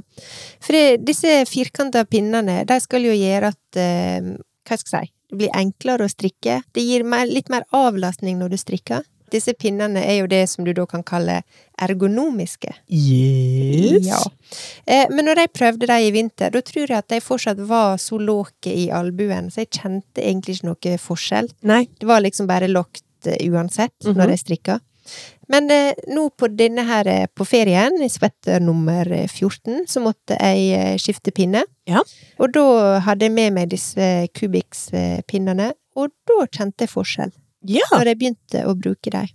Speaker 2: For det, disse firkanta pinnene, de skal jo gjøre at eh, Hva skal jeg si? Det blir enklere å strikke. Det gir mer, litt mer avlastning når du strikker. Disse pinnene er jo det som du da kan kalle ergonomiske.
Speaker 1: Yes.
Speaker 2: Ja. Eh, men når jeg prøvde dem i vinter, da tror jeg at de fortsatt var så låge i albuen, så jeg kjente egentlig ikke noe forskjell.
Speaker 1: Nei.
Speaker 2: Det var liksom bare lågt eh, uansett
Speaker 1: Mhm.
Speaker 2: når jeg strikka. Men eh, nå på denne her eh, på ferien, i sweater nummer eh, 14, så måtte jeg eh, skifte pinne.
Speaker 1: Ja.
Speaker 2: Og da hadde jeg med meg disse eh, Kubix-pinnene, og da kjente jeg forskjell
Speaker 1: Ja.
Speaker 2: når jeg begynte å bruke dem.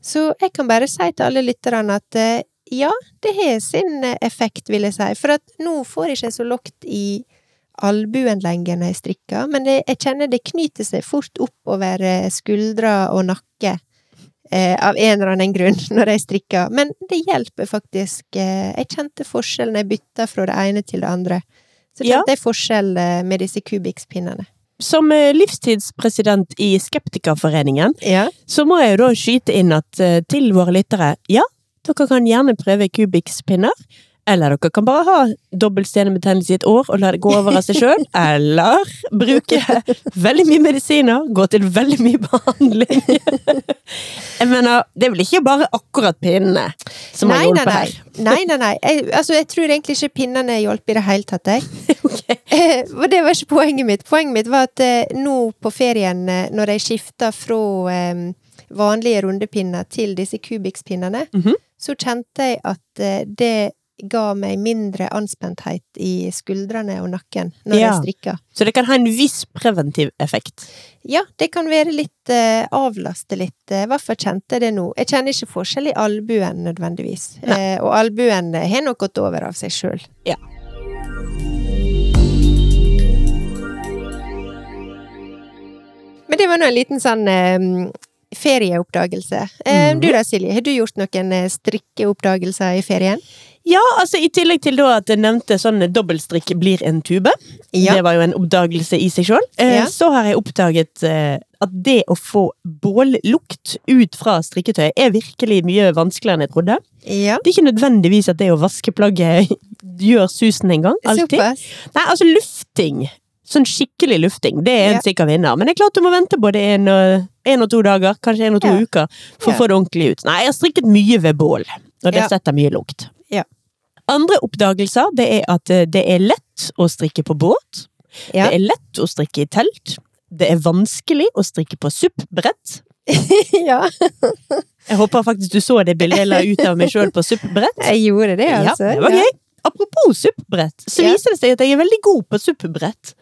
Speaker 2: Så jeg kan bare si til alle lytterne at eh, ja, det har sin eh, effekt, vil jeg si. For at nå får jeg ikke så lavt i albuen lenger når jeg strikker, men det, jeg kjenner det knyter seg fort oppover eh, skuldra og nakke. Eh, av en eller annen grunn, *laughs* når jeg strikker. Men det hjelper faktisk. Eh, jeg kjente forskjell når jeg bytta fra det ene til det andre. Så
Speaker 1: Ja.
Speaker 2: kjente jeg forskjell eh, med disse Kubix-pinnene.
Speaker 1: Som eh, livstidspresident i Skeptikerforeningen
Speaker 2: Ja.
Speaker 1: så må jeg jo da skyte inn at eh, til våre lyttere, ja, dere kan gjerne prøve Kubikspinner, eller dere kan bare ha dobbeltstenebetennelse i et år og la det gå over av seg
Speaker 2: *laughs*
Speaker 1: sjøl, eller bruke veldig mye medisiner, gå til veldig mye behandling. Jeg mener, det er vel ikke bare akkurat pinnene som har hjulpet
Speaker 2: nei,
Speaker 1: her?
Speaker 2: nei. Nei, nei, nei. Jeg, altså, jeg tror egentlig ikke pinnene hjalp i det hele tatt, jeg.
Speaker 1: *laughs* Ok.
Speaker 2: Eh, og det var ikke poenget mitt. Poenget mitt var at eh, nå på ferien, eh, når jeg skifta fra eh, vanlige rundepinner til disse kubikspinnene,
Speaker 1: Mhm.
Speaker 2: så kjente jeg at eh, det ga meg mindre anspenthet i skuldrene og nakken når
Speaker 1: Ja.
Speaker 2: jeg strikka.
Speaker 1: Så det kan ha en viss preventiv effekt.
Speaker 2: Ja, det kan være litt eh, avlaste litt. Eh, I hvert fall kjente jeg det nå. Jeg kjenner ikke forskjell i albuen nødvendigvis. Eh, og albuen eh, har nok gått over av seg sjøl.
Speaker 1: Ja.
Speaker 2: Men det var nå en liten sånn eh, ferieoppdagelse. Eh,
Speaker 1: Mhm.
Speaker 2: Du da, Silje, har du gjort noen eh, strikkeoppdagelser i ferien?
Speaker 1: Ja, altså i tillegg til da at jeg nevnte sånn dobbeltstrikk blir en tube. Det var jo en oppdagelse i seg sjøl. Eh,
Speaker 2: Ja.
Speaker 1: Så har jeg oppdaget eh, at det å få bållukt ut fra strikketøy er virkelig mye vanskeligere enn jeg trodde.
Speaker 2: ja.
Speaker 1: Det er ikke nødvendigvis at det å vaske plagget *laughs* gjør susen engang. Alltid.
Speaker 2: Såpass.
Speaker 1: Nei, altså lufting. Sånn skikkelig lufting. Det er en
Speaker 2: Ja.
Speaker 1: sikker vinner. Men det er klart du må vente både en og, en og to dager, kanskje en og to
Speaker 2: Ja.
Speaker 1: uker, for
Speaker 2: Ja.
Speaker 1: å få det ordentlig ut. Nei, jeg har strikket mye ved bål, og det
Speaker 2: Ja.
Speaker 1: setter mye lukt.
Speaker 2: Ja.
Speaker 1: Andre oppdagelser det er at eh, det er lett å strikke på båt.
Speaker 2: Ja.
Speaker 1: Det er lett å strikke i telt. Det er vanskelig å strikke på SUP-brett.
Speaker 2: *laughs* ja.
Speaker 1: Jeg håper faktisk du så det bildet jeg la ut av meg sjøl på
Speaker 2: *laughs*
Speaker 1: SUP-brett.
Speaker 2: Jeg gjorde det,
Speaker 1: Ja,
Speaker 2: altså.
Speaker 1: det var gøy. Apropos SUP-brett, så
Speaker 2: Ja.
Speaker 1: viser det seg at jeg er veldig god på SUP-brett.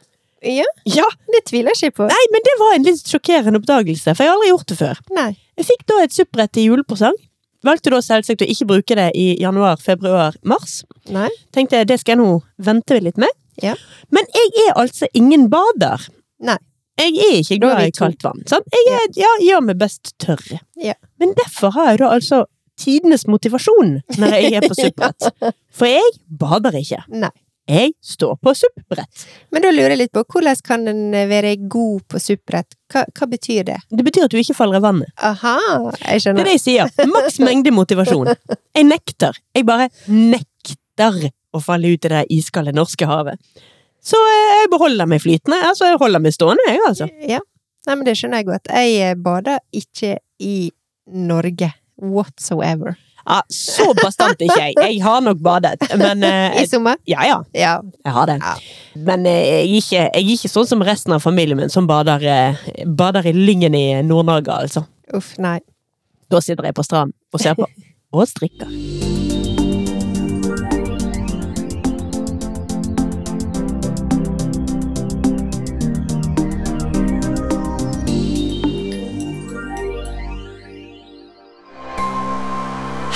Speaker 2: Ja,
Speaker 1: Ja,
Speaker 2: det tviler jeg ikke på.
Speaker 1: nei, men det var en litt sjokkerende oppdagelse, for jeg har aldri gjort det før.
Speaker 2: Nei.
Speaker 1: Jeg fikk da et SUP-brett i julepresang. Valgte da selvsagt å ikke bruke det i januar, februar, mars.
Speaker 2: Nei.
Speaker 1: Tenkte jeg, det skal jeg nå vente litt med.
Speaker 2: Ja.
Speaker 1: Men jeg er altså ingen bader.
Speaker 2: Nei.
Speaker 1: Jeg er ikke
Speaker 2: Da er
Speaker 1: glad
Speaker 2: vi
Speaker 1: i
Speaker 2: to.
Speaker 1: kaldt vann. Sant? Jeg er, ja, gjør meg best tørr.
Speaker 2: Ja.
Speaker 1: Men derfor har jeg da altså tidenes motivasjon når jeg er på
Speaker 2: *laughs*
Speaker 1: SUP-brett. For jeg bader ikke.
Speaker 2: Nei.
Speaker 1: Jeg står på SUP-brett.
Speaker 2: Men da lurer jeg litt på, hvordan kan en være god på supprett? Hva, hva betyr det?
Speaker 1: Det betyr at du ikke faller i vannet.
Speaker 2: Aha, jeg
Speaker 1: Det er
Speaker 2: skjønner.
Speaker 1: det jeg sier. Maks mengde motivasjon. Jeg nekter. Jeg bare nekter å falle ut i det iskalde norske havet. Så eh, jeg beholder meg flytende. Altså, jeg holder meg stående, jeg, altså.
Speaker 2: Ja. Nei, men det skjønner jeg godt. Jeg eh, bader ikke i Norge. Whatsoever.
Speaker 1: Ja, så bastant ikke jeg. Jeg har nok badet, men eh,
Speaker 2: I sommer?
Speaker 1: Ja, ja.
Speaker 2: Ja.
Speaker 1: Jeg har det.
Speaker 2: Ja.
Speaker 1: Men eh, jeg er, ikke, jeg er ikke sånn som resten av familien min, som bader, eh, bader i Lyngen i Nord-Norge, altså.
Speaker 2: Uff, nei.
Speaker 1: Da sitter jeg på stranden og ser *laughs* på. Og strikker.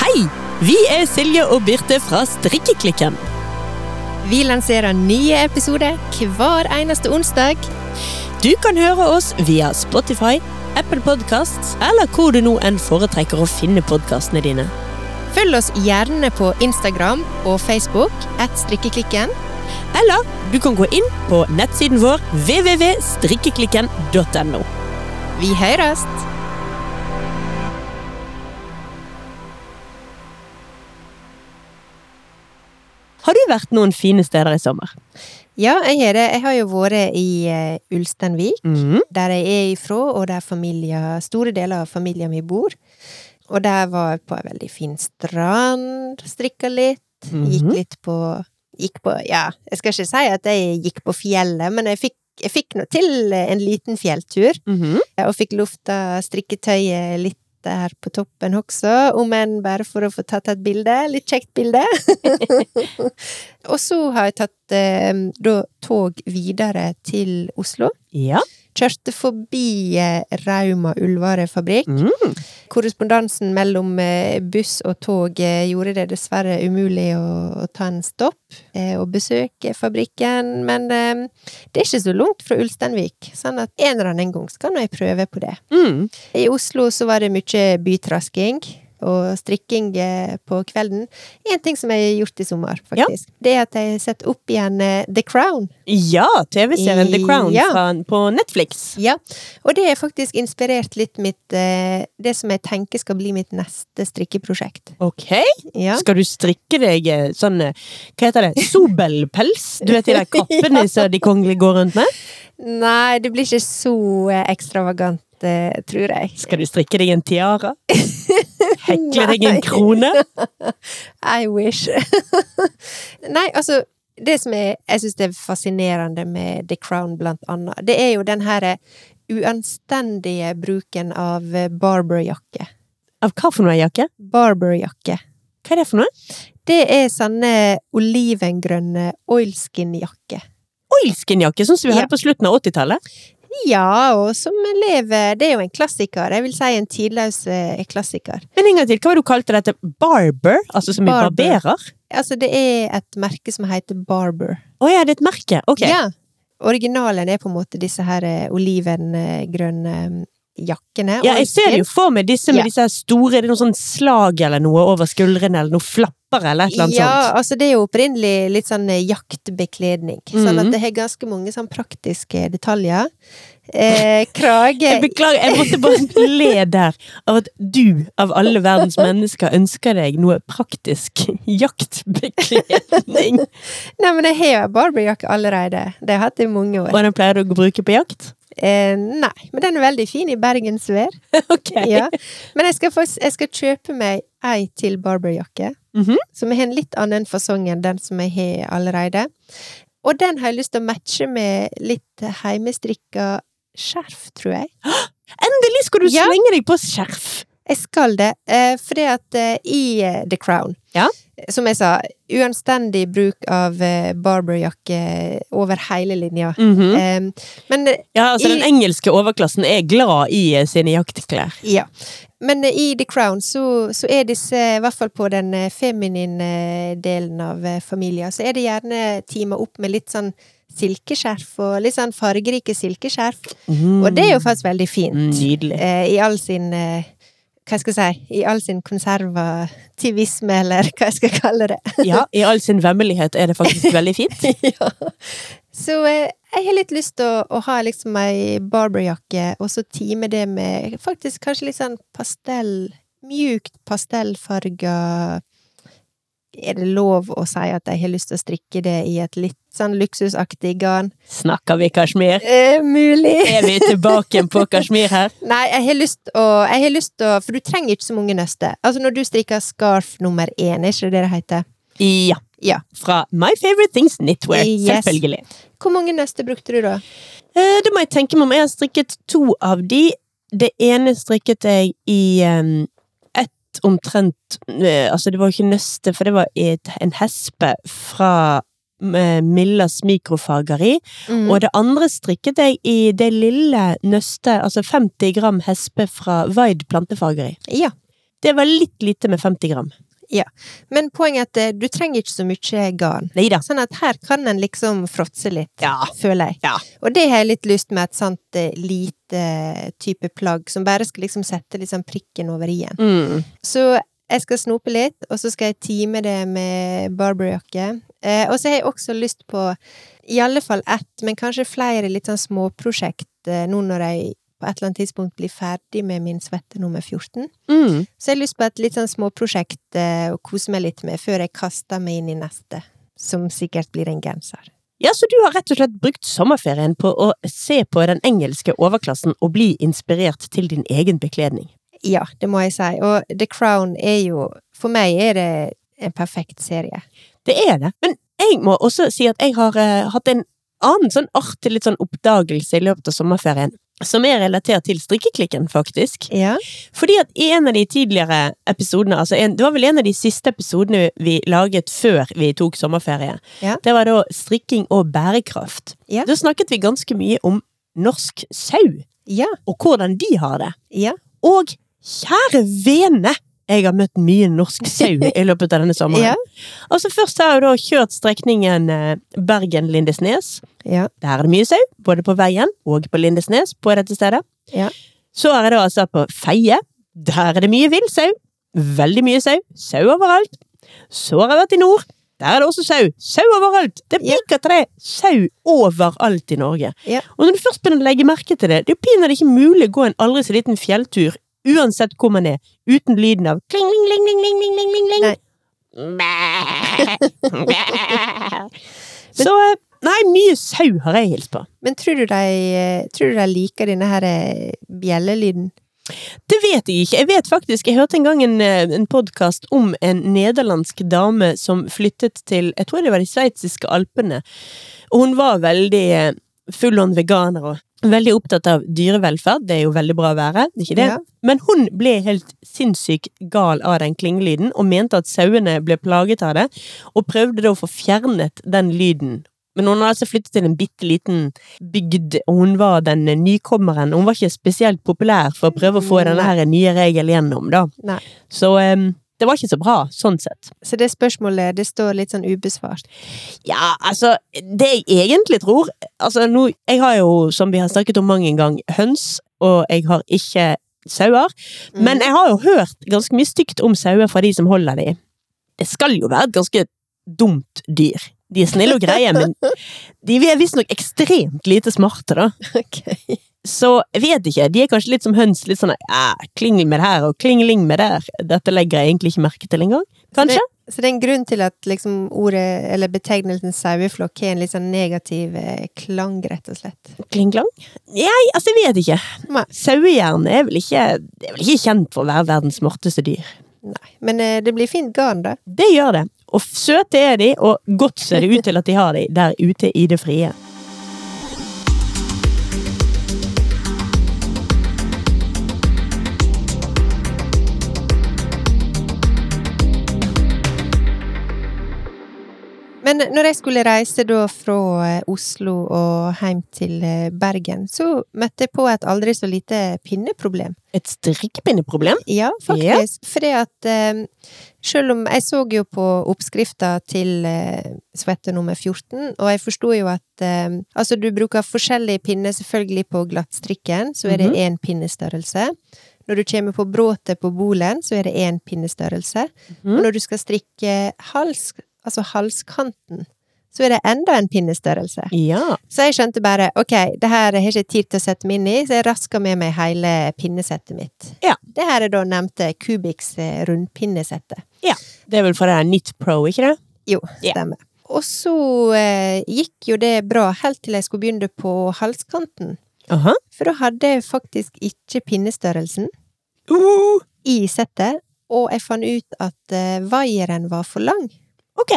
Speaker 1: Hei! Vi er Silje og Birte fra Strikkeklikken.
Speaker 2: Vi lanserer nye episoder hver eneste onsdag.
Speaker 1: Du kan høre oss via Spotify, Apple Podcasts eller hvor du nå enn foretrekker å finne podkastene dine.
Speaker 2: Følg oss gjerne på Instagram og Facebook, at strikkeklikken.
Speaker 1: Eller du kan gå inn på nettsiden vår www.strikkeklikken.no.
Speaker 2: Vi høres!
Speaker 1: Har du vært noen fine steder i sommer?
Speaker 2: Ja, jeg har det. Jeg har jo vært i eh, Ulsteinvik.
Speaker 1: Mm.
Speaker 2: der jeg er ifra, og der familie, store deler av familien min bor. Og der var jeg på en veldig fin strand, strikka litt,
Speaker 1: Mhm.
Speaker 2: gikk litt på Gikk på Ja, jeg skal ikke si at jeg gikk på fjellet, men jeg fikk, Mm-hmm. jeg fikk nå til en liten fjelltur. Og fikk lufta strikketøyet litt der på toppen også, om enn bare for å få tatt et bilde. Litt kjekt bilde. *laughs* og så har jeg tatt eh, da tog videre til Oslo.
Speaker 1: Ja.
Speaker 2: Kjørte forbi eh, Rauma ullvarefabrikk.
Speaker 1: Mm.
Speaker 2: Korrespondansen mellom eh, buss og tog eh, gjorde det dessverre umulig å, å ta en stopp eh, og besøke fabrikken, men eh, det er ikke så langt fra Ulsteinvik, sånn at en eller annen gang skal nå jeg prøve på det.
Speaker 1: Mm.
Speaker 2: I Oslo så var det mye bytrasking og strikking eh, på kvelden. En ting som jeg har gjort i sommer, faktisk, det er at jeg har sett opp igjen eh, The Crown.
Speaker 1: Ja, TV-serien The Crown
Speaker 2: Ja.
Speaker 1: fra, på Netflix.
Speaker 2: Ja. Og det har faktisk inspirert litt mitt eh, Det som jeg tenker skal bli mitt neste strikkeprosjekt.
Speaker 1: Ok,
Speaker 2: Ja.
Speaker 1: skal du strikke deg eh, sånn, eh, hva heter det, sobelpels? Du vet de
Speaker 2: *laughs*
Speaker 1: der kappene som de kongelige går rundt med?
Speaker 2: Nei, det blir ikke så eh, ekstravagant, eh, tror jeg.
Speaker 1: Skal du strikke deg en
Speaker 2: *laughs*
Speaker 1: tiara? Hekle deg
Speaker 2: Nei.
Speaker 1: en krone?
Speaker 2: I wish. *laughs* Nei, altså Det som er, jeg syns er fascinerende med The Crown, blant annet, det er jo den her eh, uanstendige bruken av eh, barberjakke.
Speaker 1: Av hva for noe jakke?
Speaker 2: Barberjakke.
Speaker 1: Hva er det for noe?
Speaker 2: Det er sånne olivengrønne oilskin-jakker.
Speaker 1: Oilskinjakke, sånn som vi
Speaker 2: Ja.
Speaker 1: hadde på slutten av 80-tallet.
Speaker 2: Ja, og som lever Det er jo en klassiker. Jeg vil si en tidløs eh, klassiker.
Speaker 1: Men en gang til, hva var det du kalte dette? Barber? Altså som i
Speaker 2: Barber.
Speaker 1: barberer?
Speaker 2: Altså, det er et merke som heter Barber.
Speaker 1: Å ja, det er et merke. Ok.
Speaker 2: Ja. Originalen er på en måte disse her eh, olivengrønne eh, jakkene.
Speaker 1: Ja, jeg ser det jo for meg disse med
Speaker 2: Ja.
Speaker 1: disse her store, det er noe sånn slag eller noe over skuldrene, eller noe flapper eller et eller annet
Speaker 2: ja,
Speaker 1: sånt.
Speaker 2: altså det er jo opprinnelig litt sånn eh, jaktbekledning. Sånn at
Speaker 1: Mhm.
Speaker 2: det har ganske mange sånn praktiske detaljer.
Speaker 1: *laughs*
Speaker 2: Eh, krage
Speaker 1: Jeg beklager, jeg måtte bare *laughs* le der av at du, av alle verdens mennesker, ønsker deg noe praktisk
Speaker 2: *laughs*
Speaker 1: jaktbekledning.
Speaker 2: Nei, men jeg har jo en barberjakke allerede. Det har jeg hatt i mange år.
Speaker 1: Og den pleier du å bruke på jakt?
Speaker 2: Eh, nei, men den er veldig fin i bergensvær.
Speaker 1: Ok. *laughs*
Speaker 2: Ja. Men jeg skal, faktisk, jeg skal kjøpe meg ei til barberjakke.
Speaker 1: Mhm.
Speaker 2: Som har en litt annen fasong enn den som jeg har allerede. Og den har jeg lyst til å matche med litt heimestrikka skjerf, tror jeg.
Speaker 1: Endelig skal du
Speaker 2: Ja.
Speaker 1: slenge deg på skjerf!
Speaker 2: Jeg skal det, eh, fordi at eh, i eh, The Crown
Speaker 1: Ja.
Speaker 2: Som jeg sa, uanstendig bruk av eh, barberjakke over hele linja.
Speaker 1: Mhm.
Speaker 2: Eh, men
Speaker 1: Ja, altså
Speaker 2: I-
Speaker 1: Den engelske overklassen er glad i eh, sine jaktklær.
Speaker 2: Ja. Men eh, i The Crown så, så er disse, i hvert fall på den eh, feminine eh, delen av eh, familien, så er det gjerne teama opp med litt sånn silkeskjerf, og litt sånn fargerike silkeskjerf.
Speaker 1: Mm.
Speaker 2: Og det er jo faktisk veldig fint.
Speaker 1: Nydelig.
Speaker 2: Eh, I all sin eh, hva skal jeg si I all sin konservativisme, eller hva jeg skal kalle det.
Speaker 1: *laughs* Ja, I all sin vemmelighet er det
Speaker 2: *laughs*
Speaker 1: faktisk veldig fint.
Speaker 2: ja. Så eh, jeg har litt lyst til å, å ha liksom ei barberjakke, og så time det med faktisk kanskje litt sånn pastell Mjukt pastellfarga Er det lov å si at jeg har lyst til å strikke det i et litt sånn luksusaktig garn?
Speaker 1: Snakker vi kasjmir?
Speaker 2: Eh, mulig!
Speaker 1: Er vi tilbake på kasjmir her?
Speaker 2: Nei, jeg har lyst å Jeg har lyst å For du trenger ikke så mange nøster. Altså, når du strikker scarf nummer én, er ikke det det heter?
Speaker 1: Ja.
Speaker 2: Ja.
Speaker 1: Fra My Favorite Things Knitwear,
Speaker 2: Yes.
Speaker 1: selvfølgelig.
Speaker 2: Hvor mange nøster brukte du da?
Speaker 1: Eh, Da må jeg tenke meg om. Jeg har strikket to av de. Det ene strikket jeg i um, ett omtrent eh, Altså, det var ikke nøste, for det var et, en hespe fra eh, Millas mikrofageri.
Speaker 2: Mm.
Speaker 1: Og det andre strikket jeg i det lille nøstet, altså 50 gram hespe fra Vaid plantefageri.
Speaker 2: Ja.
Speaker 1: Det var litt lite med 50 gram.
Speaker 2: Men poenget er at eh, du trenger ikke så mye garn.
Speaker 1: Nei da.
Speaker 2: Sånn at her kan en liksom fråtse litt,
Speaker 1: Ja.
Speaker 2: føler jeg.
Speaker 1: Ja.
Speaker 2: Og det har jeg litt lyst med et sånt eh, lite eh, type plagg, som bare skal liksom sette liksom prikken over i-en.
Speaker 1: Mm.
Speaker 2: Så jeg skal snope litt, og så skal jeg time det med barberjakke. Eh, og så har jeg også lyst på i alle fall ett, men kanskje flere litt sånn småprosjekt eh, nå når jeg på et eller annet tidspunkt blir ferdig med min svette nummer 14.
Speaker 1: Mm.
Speaker 2: Så jeg har lyst på et litt sånn småprosjekt eh, å kose meg litt med før jeg kaster meg inn i neste, som sikkert blir en genser.
Speaker 1: Ja, så du har rett og slett brukt sommerferien på å se på den engelske overklassen og bli inspirert til din egen bekledning.
Speaker 2: Ja, det må jeg si. Og The Crown er jo For meg er det en perfekt serie.
Speaker 1: Det er det. Men jeg må også si at jeg har eh, hatt en annen sånn artig litt sånn oppdagelse i løpet av sommerferien. Som er relatert til strikkeklikken, faktisk.
Speaker 2: Ja.
Speaker 1: Fordi at i en av de tidligere episodene, altså en, det var vel en av de siste episodene vi laget før vi tok sommerferie,
Speaker 2: Ja.
Speaker 1: det var da strikking og bærekraft.
Speaker 2: Ja.
Speaker 1: Da snakket vi ganske mye om norsk sau,
Speaker 2: Ja.
Speaker 1: og hvordan de har det.
Speaker 2: Ja.
Speaker 1: Og kjære vene! Jeg har møtt mye norsk sau
Speaker 2: *laughs*
Speaker 1: i løpet av denne sommeren.
Speaker 2: Ja.
Speaker 1: Altså Først har jeg da kjørt strekningen eh, Bergen-Lindesnes.
Speaker 2: Ja.
Speaker 1: Der er det mye sau, både på veien og på Lindesnes på dette stedet.
Speaker 2: Ja.
Speaker 1: Så er jeg da altså på Feie. Der er det mye vill sau. Veldig mye sau. Sau overalt. Så har jeg vært i nord. Der er det også sau. Sau overalt! Det er
Speaker 2: Ja.
Speaker 1: piker til det. Sau overalt i Norge.
Speaker 2: Ja.
Speaker 1: Og når du først begynner å legge merke til det, det er jo pinadø ikke mulig å gå en aldri så liten fjelltur, uansett hvor man er, uten lyden av kling, ling, ling, ling, ling, ling, ling, ling, ling.
Speaker 2: Nei.
Speaker 1: Mæ. *laughs*
Speaker 2: *laughs*
Speaker 1: Mæ. Så eh, Nei, mye sau har jeg hilst på.
Speaker 2: Men tror du de, eh, tror du de liker denne her eh, bjellelyden?
Speaker 1: Det vet jeg ikke. Jeg vet faktisk, jeg hørte en gang en, eh, en podkast om en nederlandsk dame som flyttet til Jeg tror det var de sveitsiske alpene. Og hun var veldig eh, full-on veganer og veldig opptatt av dyrevelferd. Det er jo veldig bra å være, det er ikke det?
Speaker 2: Ja.
Speaker 1: Men hun ble helt sinnssykt gal av den klingelyden og mente at sauene ble plaget av det, og prøvde da å få fjernet den lyden. Men hun hadde altså flyttet til en bitte liten bygd, og hun var den eh, nykommeren. Hun var ikke spesielt populær for å prøve å få denne her nye regel gjennom, da.
Speaker 2: Nei.
Speaker 1: Så eh, det var ikke så bra, sånn sett.
Speaker 2: Så det spørsmålet, det står litt sånn ubesvart.
Speaker 1: Ja, altså, det jeg egentlig tror Altså, nå, jeg har jo, som vi har snakket om mange gang, høns, og jeg har ikke sauer.
Speaker 2: Mm.
Speaker 1: Men jeg har jo hørt ganske mye stygt om sauer fra de som holder de. Det skal jo være et ganske dumt dyr. De er snille og greie, men de er visstnok ekstremt lite smarte, da.
Speaker 2: *laughs* *laughs* Ok.
Speaker 1: Så jeg vet ikke, de er kanskje litt som høns, litt sånn ja, klingel med det her og klingeling med det der. Dette legger jeg egentlig ikke merke til engang. Kanskje?
Speaker 2: Så det er en grunn til at liksom ordet, eller betegnelsen saueflokk har en litt sånn negativ eh, klang, rett og slett.
Speaker 1: Klingklang? Nei, altså jeg vet ikke.
Speaker 2: Nei.
Speaker 1: Sauehjerne er vel ikke Det er vel ikke kjent for å være verdens smarteste dyr.
Speaker 2: Nei. Men eh, det blir fint garn, da.
Speaker 1: Det gjør det. Og f- søte er de, og godt ser det ut til at de har de der ute i det frie.
Speaker 2: Men eh, når jeg skulle reise da fra eh, Oslo og hjem til eh, Bergen, så møtte jeg på et aldri så lite pinneproblem.
Speaker 1: Et strikkepinneproblem?
Speaker 2: Ja, faktisk. Fordi at eh, selv om jeg så jo på oppskrifta til eh, svette nummer 14, og jeg forsto jo at eh, Altså, du bruker forskjellige pinner, selvfølgelig på glattstrikken, så er det
Speaker 1: Mhm.
Speaker 2: én pinnestørrelse. Når du kommer på bråtet på bolen, så er det én pinnestørrelse. Og når du skal strikke hals, altså halskanten, så er det enda en pinnestørrelse.
Speaker 1: Ja.
Speaker 2: Så jeg skjønte bare ok, det her har jeg ikke tid til å sette meg inn i, så jeg raska med meg hele pinnesettet mitt.
Speaker 1: Ja.
Speaker 2: Det her er da nevnte Cubics eh, rundpinnesettet.
Speaker 1: Det er vel fra det her Knit Pro, ikke det?
Speaker 2: Jo,
Speaker 1: Ja.
Speaker 2: stemmer. Og så eh, gikk jo det bra, helt til jeg skulle begynne på halskanten.
Speaker 1: Aha.
Speaker 2: For da hadde jeg faktisk ikke pinnestørrelsen
Speaker 1: Uh,
Speaker 2: i settet, og jeg fant ut at eh, vaieren var for lang.
Speaker 1: ok.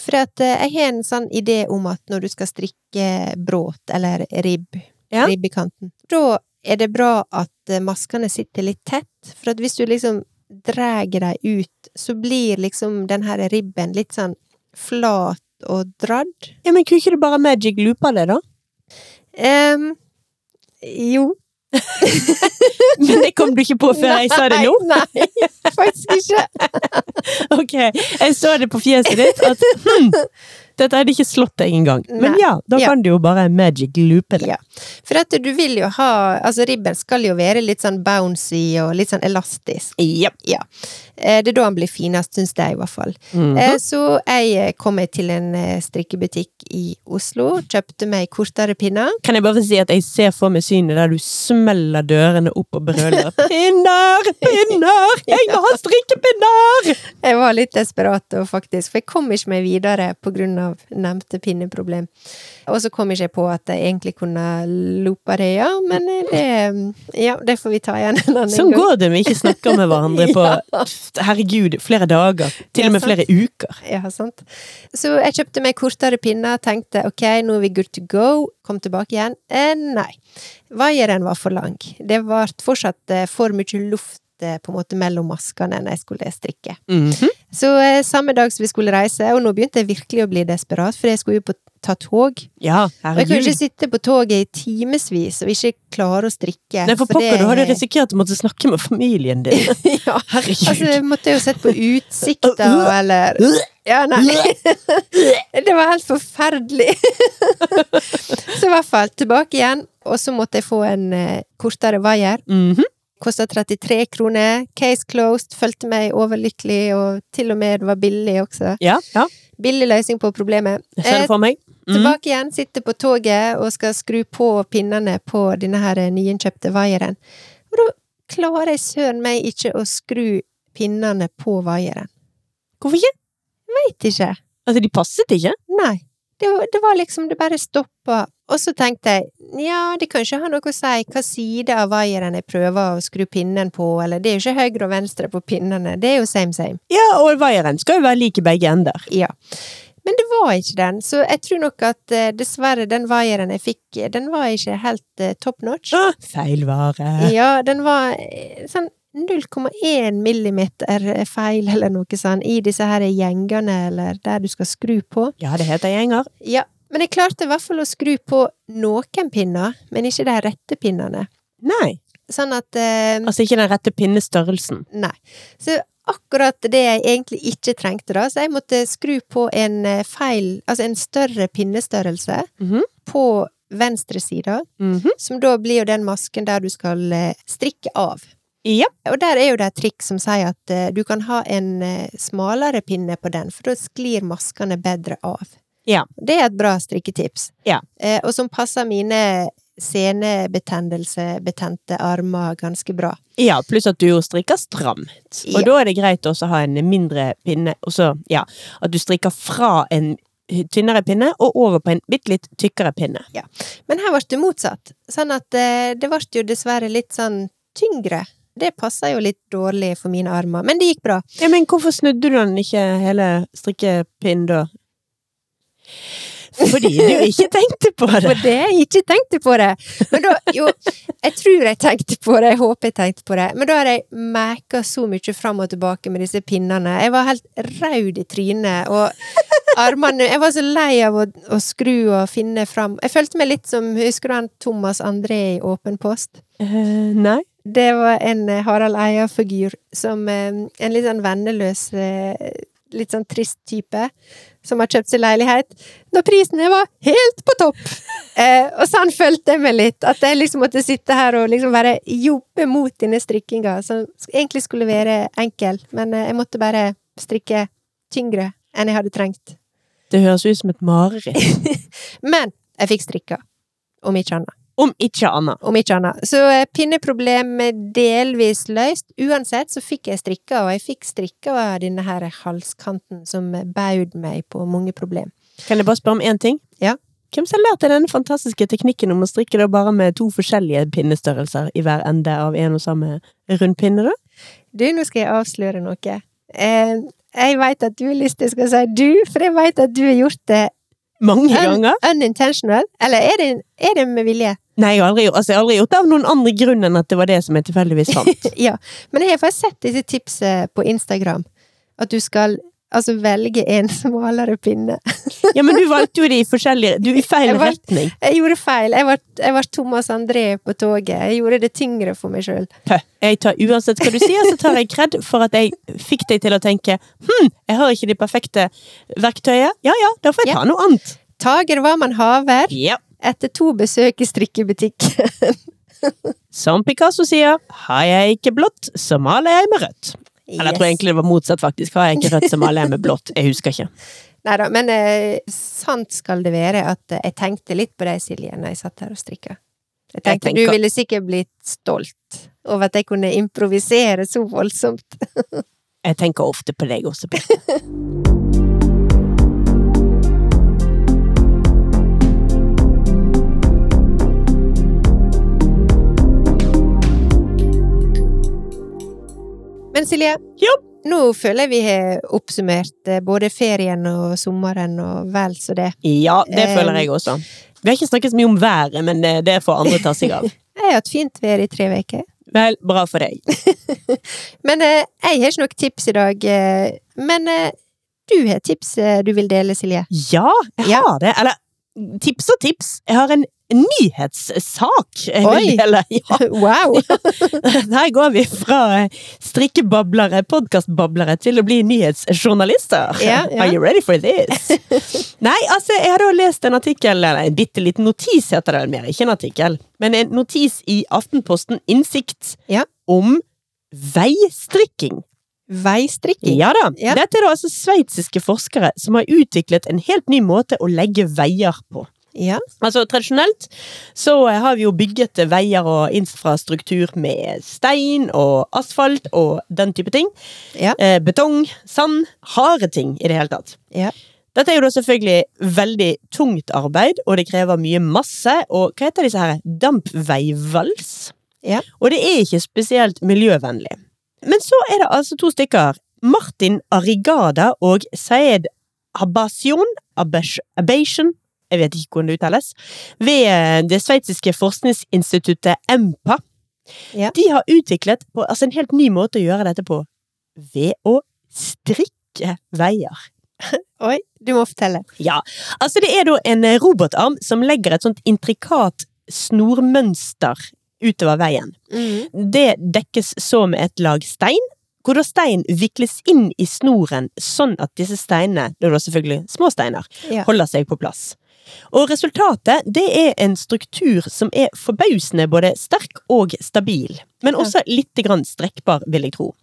Speaker 2: For at eh, jeg har en sånn idé om at når du skal strikke bråt eller ribb,
Speaker 1: Ja.
Speaker 2: ribbekanten, da er det bra at eh, maskene sitter litt tett. For at hvis du liksom drar dem ut, så blir liksom den her ribben litt sånn flat og dradd.
Speaker 1: Ja, men kunne ikke du bare magic loopa det,
Speaker 2: *laughs*
Speaker 1: da?
Speaker 2: Ehm, jo.
Speaker 1: Men det kom du ikke *laughs*
Speaker 2: *laughs*
Speaker 1: på før jeg sa det nå?
Speaker 2: Nei, nei, faktisk ikke.
Speaker 1: Ok, jeg så det på fjeset ditt at hm, dette hadde ikke slått deg engang. Men
Speaker 2: Nei.
Speaker 1: ja, da
Speaker 2: Ja.
Speaker 1: kan du jo bare magic loope det.
Speaker 2: Ja. For at du vil jo ha Altså, ribben skal jo være litt sånn bouncy og litt sånn elastisk.
Speaker 1: Japp.
Speaker 2: Eh, Det er da han blir finest, syns jeg i hvert fall.
Speaker 1: Mhm.
Speaker 2: Eh, Så jeg eh, kom meg til en eh, strikkebutikk i Oslo, kjøpte meg kortere pinner.
Speaker 1: Kan jeg bare si at jeg ser for meg synet der du smeller dørene opp og
Speaker 2: *laughs*
Speaker 1: brøler 'Pinner! Pinner! Jeg må ha strikkepinner!'
Speaker 2: Jeg var litt desperat, og faktisk, for jeg kom ikke meg videre pga. av nevnte pinneproblem. Og så kom ikke jeg på at jeg egentlig kunne loopa det, ja, men eh, det Ja, det får vi ta igjen en annen
Speaker 1: Sånn
Speaker 2: gang.
Speaker 1: går det når vi ikke snakker med hverandre
Speaker 2: *laughs*
Speaker 1: på herregud, flere dager. Til
Speaker 2: Ja,
Speaker 1: og med flere uker.
Speaker 2: *laughs* Ja, sant. Så jeg kjøpte meg kortere pinner, tenkte ok, nå er vi good to go, kom tilbake igjen. Eh, nei. Vaieren var for lang. Det var fortsatt eh, for mye luft eh, på en måte mellom maskene når jeg skulle strikke.
Speaker 1: Mhm.
Speaker 2: Så eh, samme dag som vi skulle reise, og nå begynte jeg virkelig å bli desperat, for jeg skulle jo på, ta tog.
Speaker 1: Ja,
Speaker 2: Og jeg kunne
Speaker 1: herregud.
Speaker 2: ikke sitte på toget i timevis og ikke klare å strikke.
Speaker 1: Nei, for
Speaker 2: for
Speaker 1: pokker,
Speaker 2: det-
Speaker 1: da har
Speaker 2: *laughs*
Speaker 1: du risikert å måtte snakke med familien din.
Speaker 2: ja. Altså,
Speaker 1: Herregud.
Speaker 2: jeg måtte jo sett på
Speaker 1: *laughs*
Speaker 2: utsikter, eller Ja, nei. Det var helt forferdelig. *laughs* så i hvert fall tilbake igjen, og så måtte jeg få en eh, kortere vaier.
Speaker 1: Mhm.
Speaker 2: Kosta 33 kroner. Case closed. Følte meg overlykkelig, og til og med det var billig også.
Speaker 1: Ja, ja.
Speaker 2: Billig løsning på problemet. Eh,
Speaker 1: Jeg ser det for meg. Mhm.
Speaker 2: Tilbake igjen, sitter på toget og skal skru på pinnene på denne her eh, nyinnkjøpte vaieren. Og da klarer jeg søren meg ikke å skru pinnene på vaieren.
Speaker 1: Hvorfor ikke?
Speaker 2: Veit ikke.
Speaker 1: Altså, de passet ikke.
Speaker 2: Nei. Det, var- det var liksom Det bare stoppa. Og så tenkte jeg ja, det kan ikke ha noe å si hva side av vaieren jeg prøver å skru pinnen på, eller det er jo ikke høyre og venstre på pinnene, det er jo same same.
Speaker 1: Ja, og vaieren skal jo være lik i begge ender.
Speaker 2: Ja. Men det var ikke den, så jeg tror nok at eh, dessverre den vaieren jeg fikk, eh, den var ikke helt eh, top notch.
Speaker 1: Ah, feil vare.
Speaker 2: Ja, den var eh, sånn 0,1 millimeter feil eller noe sånn i disse her gjengene eller der du skal skru på.
Speaker 1: Ja, det heter gjenger.
Speaker 2: Ja, men jeg klarte i hvert fall å skru på noen pinner, men ikke de rette pinnene.
Speaker 1: Nei.
Speaker 2: Sånn at eh,
Speaker 1: Altså ikke den rette pinnestørrelsen.
Speaker 2: Nei. Så akkurat det jeg egentlig ikke trengte, da, så jeg måtte skru på en eh, feil Altså en større pinnestørrelse
Speaker 1: Mhm.
Speaker 2: på venstre side,
Speaker 1: Mhm.
Speaker 2: som da blir jo den masken der du skal eh, strikke av.
Speaker 1: Ja.
Speaker 2: Og der er jo det et trikk som sier at eh, du kan ha en eh, smalere pinne på den, for da sklir maskene bedre av.
Speaker 1: Ja.
Speaker 2: Det er et bra strikketips.
Speaker 1: Ja.
Speaker 2: Eh, og som passer mine senebetennelsebetente armer ganske bra.
Speaker 1: Ja, pluss at du jo strikker stramt. Og
Speaker 2: Ja.
Speaker 1: da er det greit også å ha en mindre pinne, og så, ja, at du strikker fra en tynnere pinne og over på en bitte litt tykkere pinne.
Speaker 2: Men her ble det motsatt, sånn at eh, det ble jo dessverre litt sånn tyngre. Det passer jo litt dårlig for mine armer, men det gikk bra.
Speaker 1: Ja, men hvorfor snudde du den ikke hele strikkepinnen da? Fordi du ikke tenkte på det.
Speaker 2: For det jeg ikke tenkte på det! Men da, jo, jeg tror jeg tenkte på det, jeg håper jeg tenkte på det, men da har jeg merka så mye fram og tilbake med disse pinnene. Jeg var helt raud i trynet, og armene Jeg var så lei av å, å skru og finne fram. Jeg følte meg litt som Husker du han Thomas André i Åpen post?
Speaker 1: Eh, nei.
Speaker 2: Det var en eh, Harald Eia-figur som eh, en litt sånn venneløs, eh, litt sånn trist type, som har kjøpt seg leilighet, når prisene var helt på topp! Eh, og sånn følte jeg meg litt, at jeg liksom måtte sitte her og liksom bare jobbe mot denne strikkinga, som sk- egentlig skulle være enkel, men eh, jeg måtte bare strikke tyngre enn jeg hadde trengt.
Speaker 1: Det høres ut som et mareritt.
Speaker 2: Men jeg fikk strikka, om ikke annet.
Speaker 1: Om ikke annet.
Speaker 2: om ikke annet. Så eh, pinneproblemet delvis løst. Uansett så fikk jeg strikka, og jeg fikk strikka av denne her halskanten som baud meg på mange problem.
Speaker 1: Kan jeg bare spørre om én ting?
Speaker 2: Ja.
Speaker 1: Hvem som har lært deg denne fantastiske teknikken om å strikke da bare med to forskjellige pinnestørrelser i hver ende av en og samme rund pinne, da?
Speaker 2: Du, nå skal jeg avsløre noe. Eh, jeg veit at du har lyst til jeg skal si du, for jeg veit at du har gjort det
Speaker 1: Mange
Speaker 2: un
Speaker 1: ganger?
Speaker 2: unintentional. Eller er det, er det med vilje? *laughs*
Speaker 1: Nei, jeg har, aldri, gjort- altså, jeg har aldri gjort det av noen andre grunn enn at det var det som jeg tilfeldigvis
Speaker 2: *laughs*
Speaker 1: fant.
Speaker 2: Ja. Men jeg har faktisk sett disse tipsene på Instagram. At du skal altså velge en smalere pinne.
Speaker 1: Ja, men du valgte jo de forskjellige Du er i feil
Speaker 2: Jeg valgte-
Speaker 1: retning.
Speaker 2: Jeg gjorde feil. Jeg var, jeg var Thomas André på toget. Jeg gjorde det tyngre for meg sjøl.
Speaker 1: Pøh. Jeg tar, uansett hva du sier, så tar jeg kred for at jeg fikk deg til å tenke Hm, jeg har ikke det perfekte verktøyet. Ja ja, da får jeg ta noe annet.
Speaker 2: Tager hva man haver
Speaker 1: Ja.
Speaker 2: etter to besøk i strikkebutikk. *laughs*
Speaker 1: Som Picasso sier, har jeg ikke blått, så maler jeg med rødt. Eller jeg tror egentlig det var motsatt, faktisk. Har jeg ikke rødt, så maler jeg med blått. Jeg husker ikke.
Speaker 2: Nei da, men eh, sant skal det være at eh, jeg tenkte litt på deg, Silje, når jeg satt her og strikka. Jeg
Speaker 1: Jeg
Speaker 2: tenkte
Speaker 1: tenker-
Speaker 2: du ville sikkert blitt stolt over at jeg kunne improvisere så voldsomt.
Speaker 1: Jeg tenker ofte på deg også, Pia.
Speaker 2: Men Silje,
Speaker 1: Ja.
Speaker 2: nå føler jeg vi har oppsummert eh, både ferien og sommeren og vel så det.
Speaker 1: Ja, det
Speaker 2: Eh,
Speaker 1: føler jeg også. Vi har ikke snakket så mye om været, men eh, det får andre ta seg av.
Speaker 2: Jeg har hatt fint vær i tre uker.
Speaker 1: Vel, bra for deg.
Speaker 2: Men eh, jeg har ikke noen tips i dag. Eh, men eh, du har tips eh, du vil dele, Silje.
Speaker 1: Ja, jeg
Speaker 2: Ja.
Speaker 1: har det. Eller tips og tips. Jeg har en nyhetssak jeg
Speaker 2: Oi.
Speaker 1: vil *laughs* dele. Ja.
Speaker 2: *laughs* Wow!
Speaker 1: Der går vi fra eh, strikkebablere, podkastbablere, til å bli nyhetsjournalister.
Speaker 2: Ja, ja.
Speaker 1: Are you ready for
Speaker 2: *laughs*
Speaker 1: this? Nei, altså, jeg hadde jo lest en artikkel, eller en bitte liten notis heter det vel mer, ikke en artikkel, men en notis i Aftenposten Innsikt
Speaker 2: Ja.
Speaker 1: om veistrikking.
Speaker 2: Veistrikking.
Speaker 1: Ja da.
Speaker 2: Ja.
Speaker 1: Dette er da altså sveitsiske forskere som har utviklet en helt ny måte å legge veier på.
Speaker 2: Ja.
Speaker 1: Altså Tradisjonelt så eh, har vi jo bygget eh, veier og infrastruktur med stein og asfalt og den type ting.
Speaker 2: Ja.
Speaker 1: Eh, betong, sand, harde ting i det hele tatt.
Speaker 2: Ja.
Speaker 1: Dette er jo da selvfølgelig veldig tungt arbeid, og det krever mye masse. Og hva heter disse her? Dampveivals.
Speaker 2: Ja.
Speaker 1: Og det er ikke spesielt miljøvennlig. Men så er det altså to stykker. Martin Arigada og Saeed Abasion Abash- Abation Jeg vet ikke hvordan det uttales. Ved eh, det sveitsiske forskningsinstituttet EMPA.
Speaker 2: Ja.
Speaker 1: De har utviklet på, altså en helt ny måte å gjøre dette på. Ved å strikke veier.
Speaker 2: Oi, du må fortelle.
Speaker 1: Ja, altså det er da en eh, robotarm som legger et sånt intrikat snormønster utover veien. Mm. Det dekkes så med et lag stein, hvor da stein vikles inn i snoren sånn at disse steinene, det er da selvfølgelig små steiner,
Speaker 2: Ja.
Speaker 1: holder seg på plass. Og resultatet, det er en struktur som er forbausende både sterk og stabil, men også litt grann strekkbar, vil jeg tro.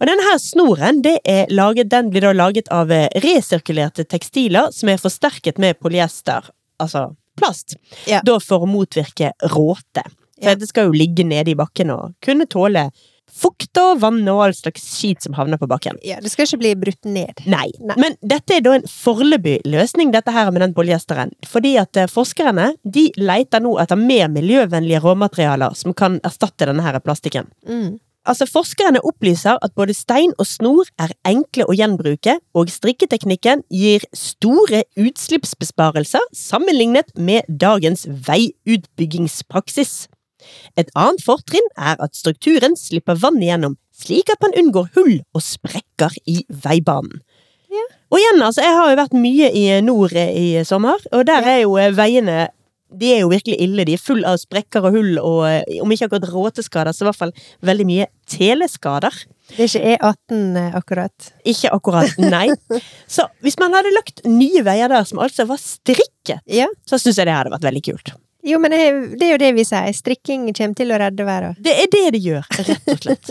Speaker 1: Og denne her snoren det er laget, den blir da laget av eh, resirkulerte tekstiler som er forsterket med polyester, altså plast,
Speaker 2: Ja.
Speaker 1: da for å motvirke råte. For
Speaker 2: Ja.
Speaker 1: det skal jo ligge nede i bakken og kunne tåle fukt og vann og all slags skit som havner på bakken.
Speaker 2: Ja, det skal ikke bli brutt ned.
Speaker 1: Nei.
Speaker 2: Nei.
Speaker 1: Men dette er da en foreløpig løsning, dette her med den polyesteren. Fordi at eh, forskerne de leter nå etter mer miljøvennlige råmaterialer som kan erstatte denne her plastikken.
Speaker 2: Mm.
Speaker 1: Altså, Forskerne opplyser at både stein og snor er enkle å gjenbruke, og strikketeknikken gir store utslippsbesparelser sammenlignet med dagens veiutbyggingspraksis. Et annet fortrinn er at strukturen slipper vann igjennom, slik at man unngår hull og sprekker i veibanen.
Speaker 2: Ja.
Speaker 1: Og igjen, altså, jeg har jo vært mye i nord eh, i sommer, og der
Speaker 2: Ja.
Speaker 1: er jo eh, veiene de er jo virkelig ille. De er full av sprekker og hull, og eh, om ikke akkurat råteskader, så i hvert fall veldig mye teleskader.
Speaker 2: Det er ikke E18 eh, akkurat.
Speaker 1: Ikke akkurat, nei. Så hvis man hadde lagt nye veier der som altså var strikket,
Speaker 2: Ja.
Speaker 1: så syns jeg det hadde vært veldig kult.
Speaker 2: Jo, men jeg, det er jo det vi sier. Strikking kommer til å redde verden.
Speaker 1: Det er det det gjør, rett og slett.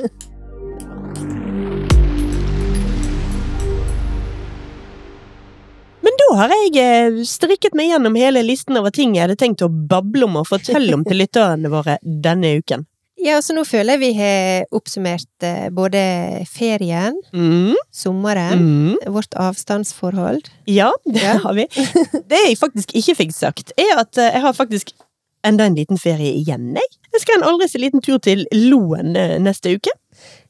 Speaker 1: Men da har jeg eh, strikket meg gjennom hele listen over ting jeg hadde tenkt å bable om og fortelle om til lytterne våre denne uken.
Speaker 2: Ja, så nå føler jeg vi har oppsummert eh, både ferien,
Speaker 1: Mm.
Speaker 2: sommeren,
Speaker 1: Mm.
Speaker 2: vårt avstandsforhold.
Speaker 1: Ja, det
Speaker 2: Ja.
Speaker 1: har vi. Det jeg faktisk ikke fikk sagt, er at eh, jeg har faktisk enda en liten ferie igjen, jeg. Jeg skal en aldri så liten tur til Loen eh, neste uke.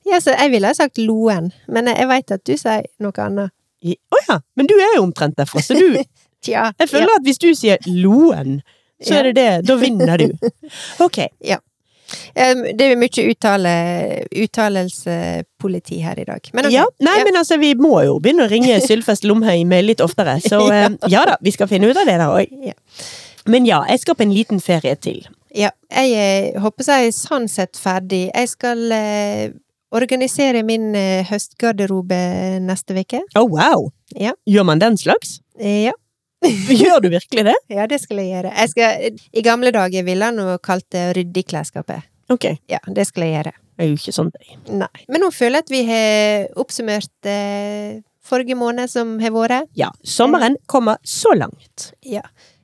Speaker 2: Ja, så jeg ville ha sagt Loen, men eh, jeg veit at du sier noe annet.
Speaker 1: I- Å ja, men du er jo omtrent derfra, så
Speaker 2: *laughs*
Speaker 1: du
Speaker 2: Tja.
Speaker 1: Jeg føler at hvis du sier Loen, så er det det. Da vinner
Speaker 2: *laughs*
Speaker 1: du. Ok.
Speaker 2: Ja. Um, Det er mye uttale, uttalelsepoliti her i dag. Men ok.
Speaker 1: Ja, nei, men altså, vi må jo begynne å ringe Sylfest Lomheim litt oftere,
Speaker 2: *laughs*
Speaker 1: så eh, ja da, vi skal finne ut av det der òg.
Speaker 2: Ja.
Speaker 1: Men ja, jeg skal på en liten ferie til.
Speaker 2: Ja, jeg eh, håper jeg er sånn sett ferdig. Jeg skal eh, organisere min eh, høstgarderobe neste uke.
Speaker 1: Å wow!
Speaker 2: Ja.
Speaker 1: Gjør man den
Speaker 2: *laughs*
Speaker 1: slags?
Speaker 2: Eh, Ja,
Speaker 1: Gjør du virkelig det?
Speaker 2: ja, det skal jeg gjøre. Jeg skal, I gamle dager ville han jo kalt det å rydde i klesskapet.
Speaker 1: Ok.
Speaker 2: Ja, det skal jeg gjøre.
Speaker 1: Jeg er jo ikke sånn, jeg.
Speaker 2: Nei. Men nå føler jeg at vi har oppsummert eh, forrige måned som har vært.
Speaker 1: Ja, sommeren kommer så langt.
Speaker 2: Ja.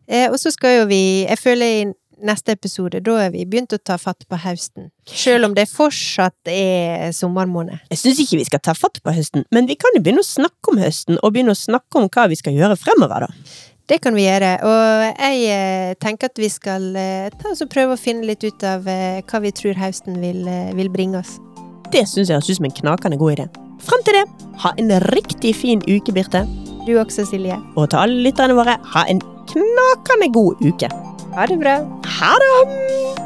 Speaker 2: Eh, og så skal jo vi Jeg føler i neste episode, da har vi begynt å ta fatt på høsten. Selv om det fortsatt er sommermåned.
Speaker 1: Jeg syns ikke vi skal ta fatt på høsten, men vi kan jo begynne å snakke om høsten, og begynne å snakke om hva vi skal gjøre fremover, da.
Speaker 2: Det kan vi gjøre. Og jeg eh, tenker at vi skal eh, ta oss og prøve å finne litt ut av eh, hva vi tror høsten vil, eh, vil bringe oss.
Speaker 1: Det syns jeg høres ut som en knakende god idé. Frem til det, ha en riktig fin uke, Birte.
Speaker 2: Du også, Silje.
Speaker 1: Og til alle lytterne våre, ha en knakende god uke.
Speaker 2: Ha det bra.
Speaker 1: Ha det!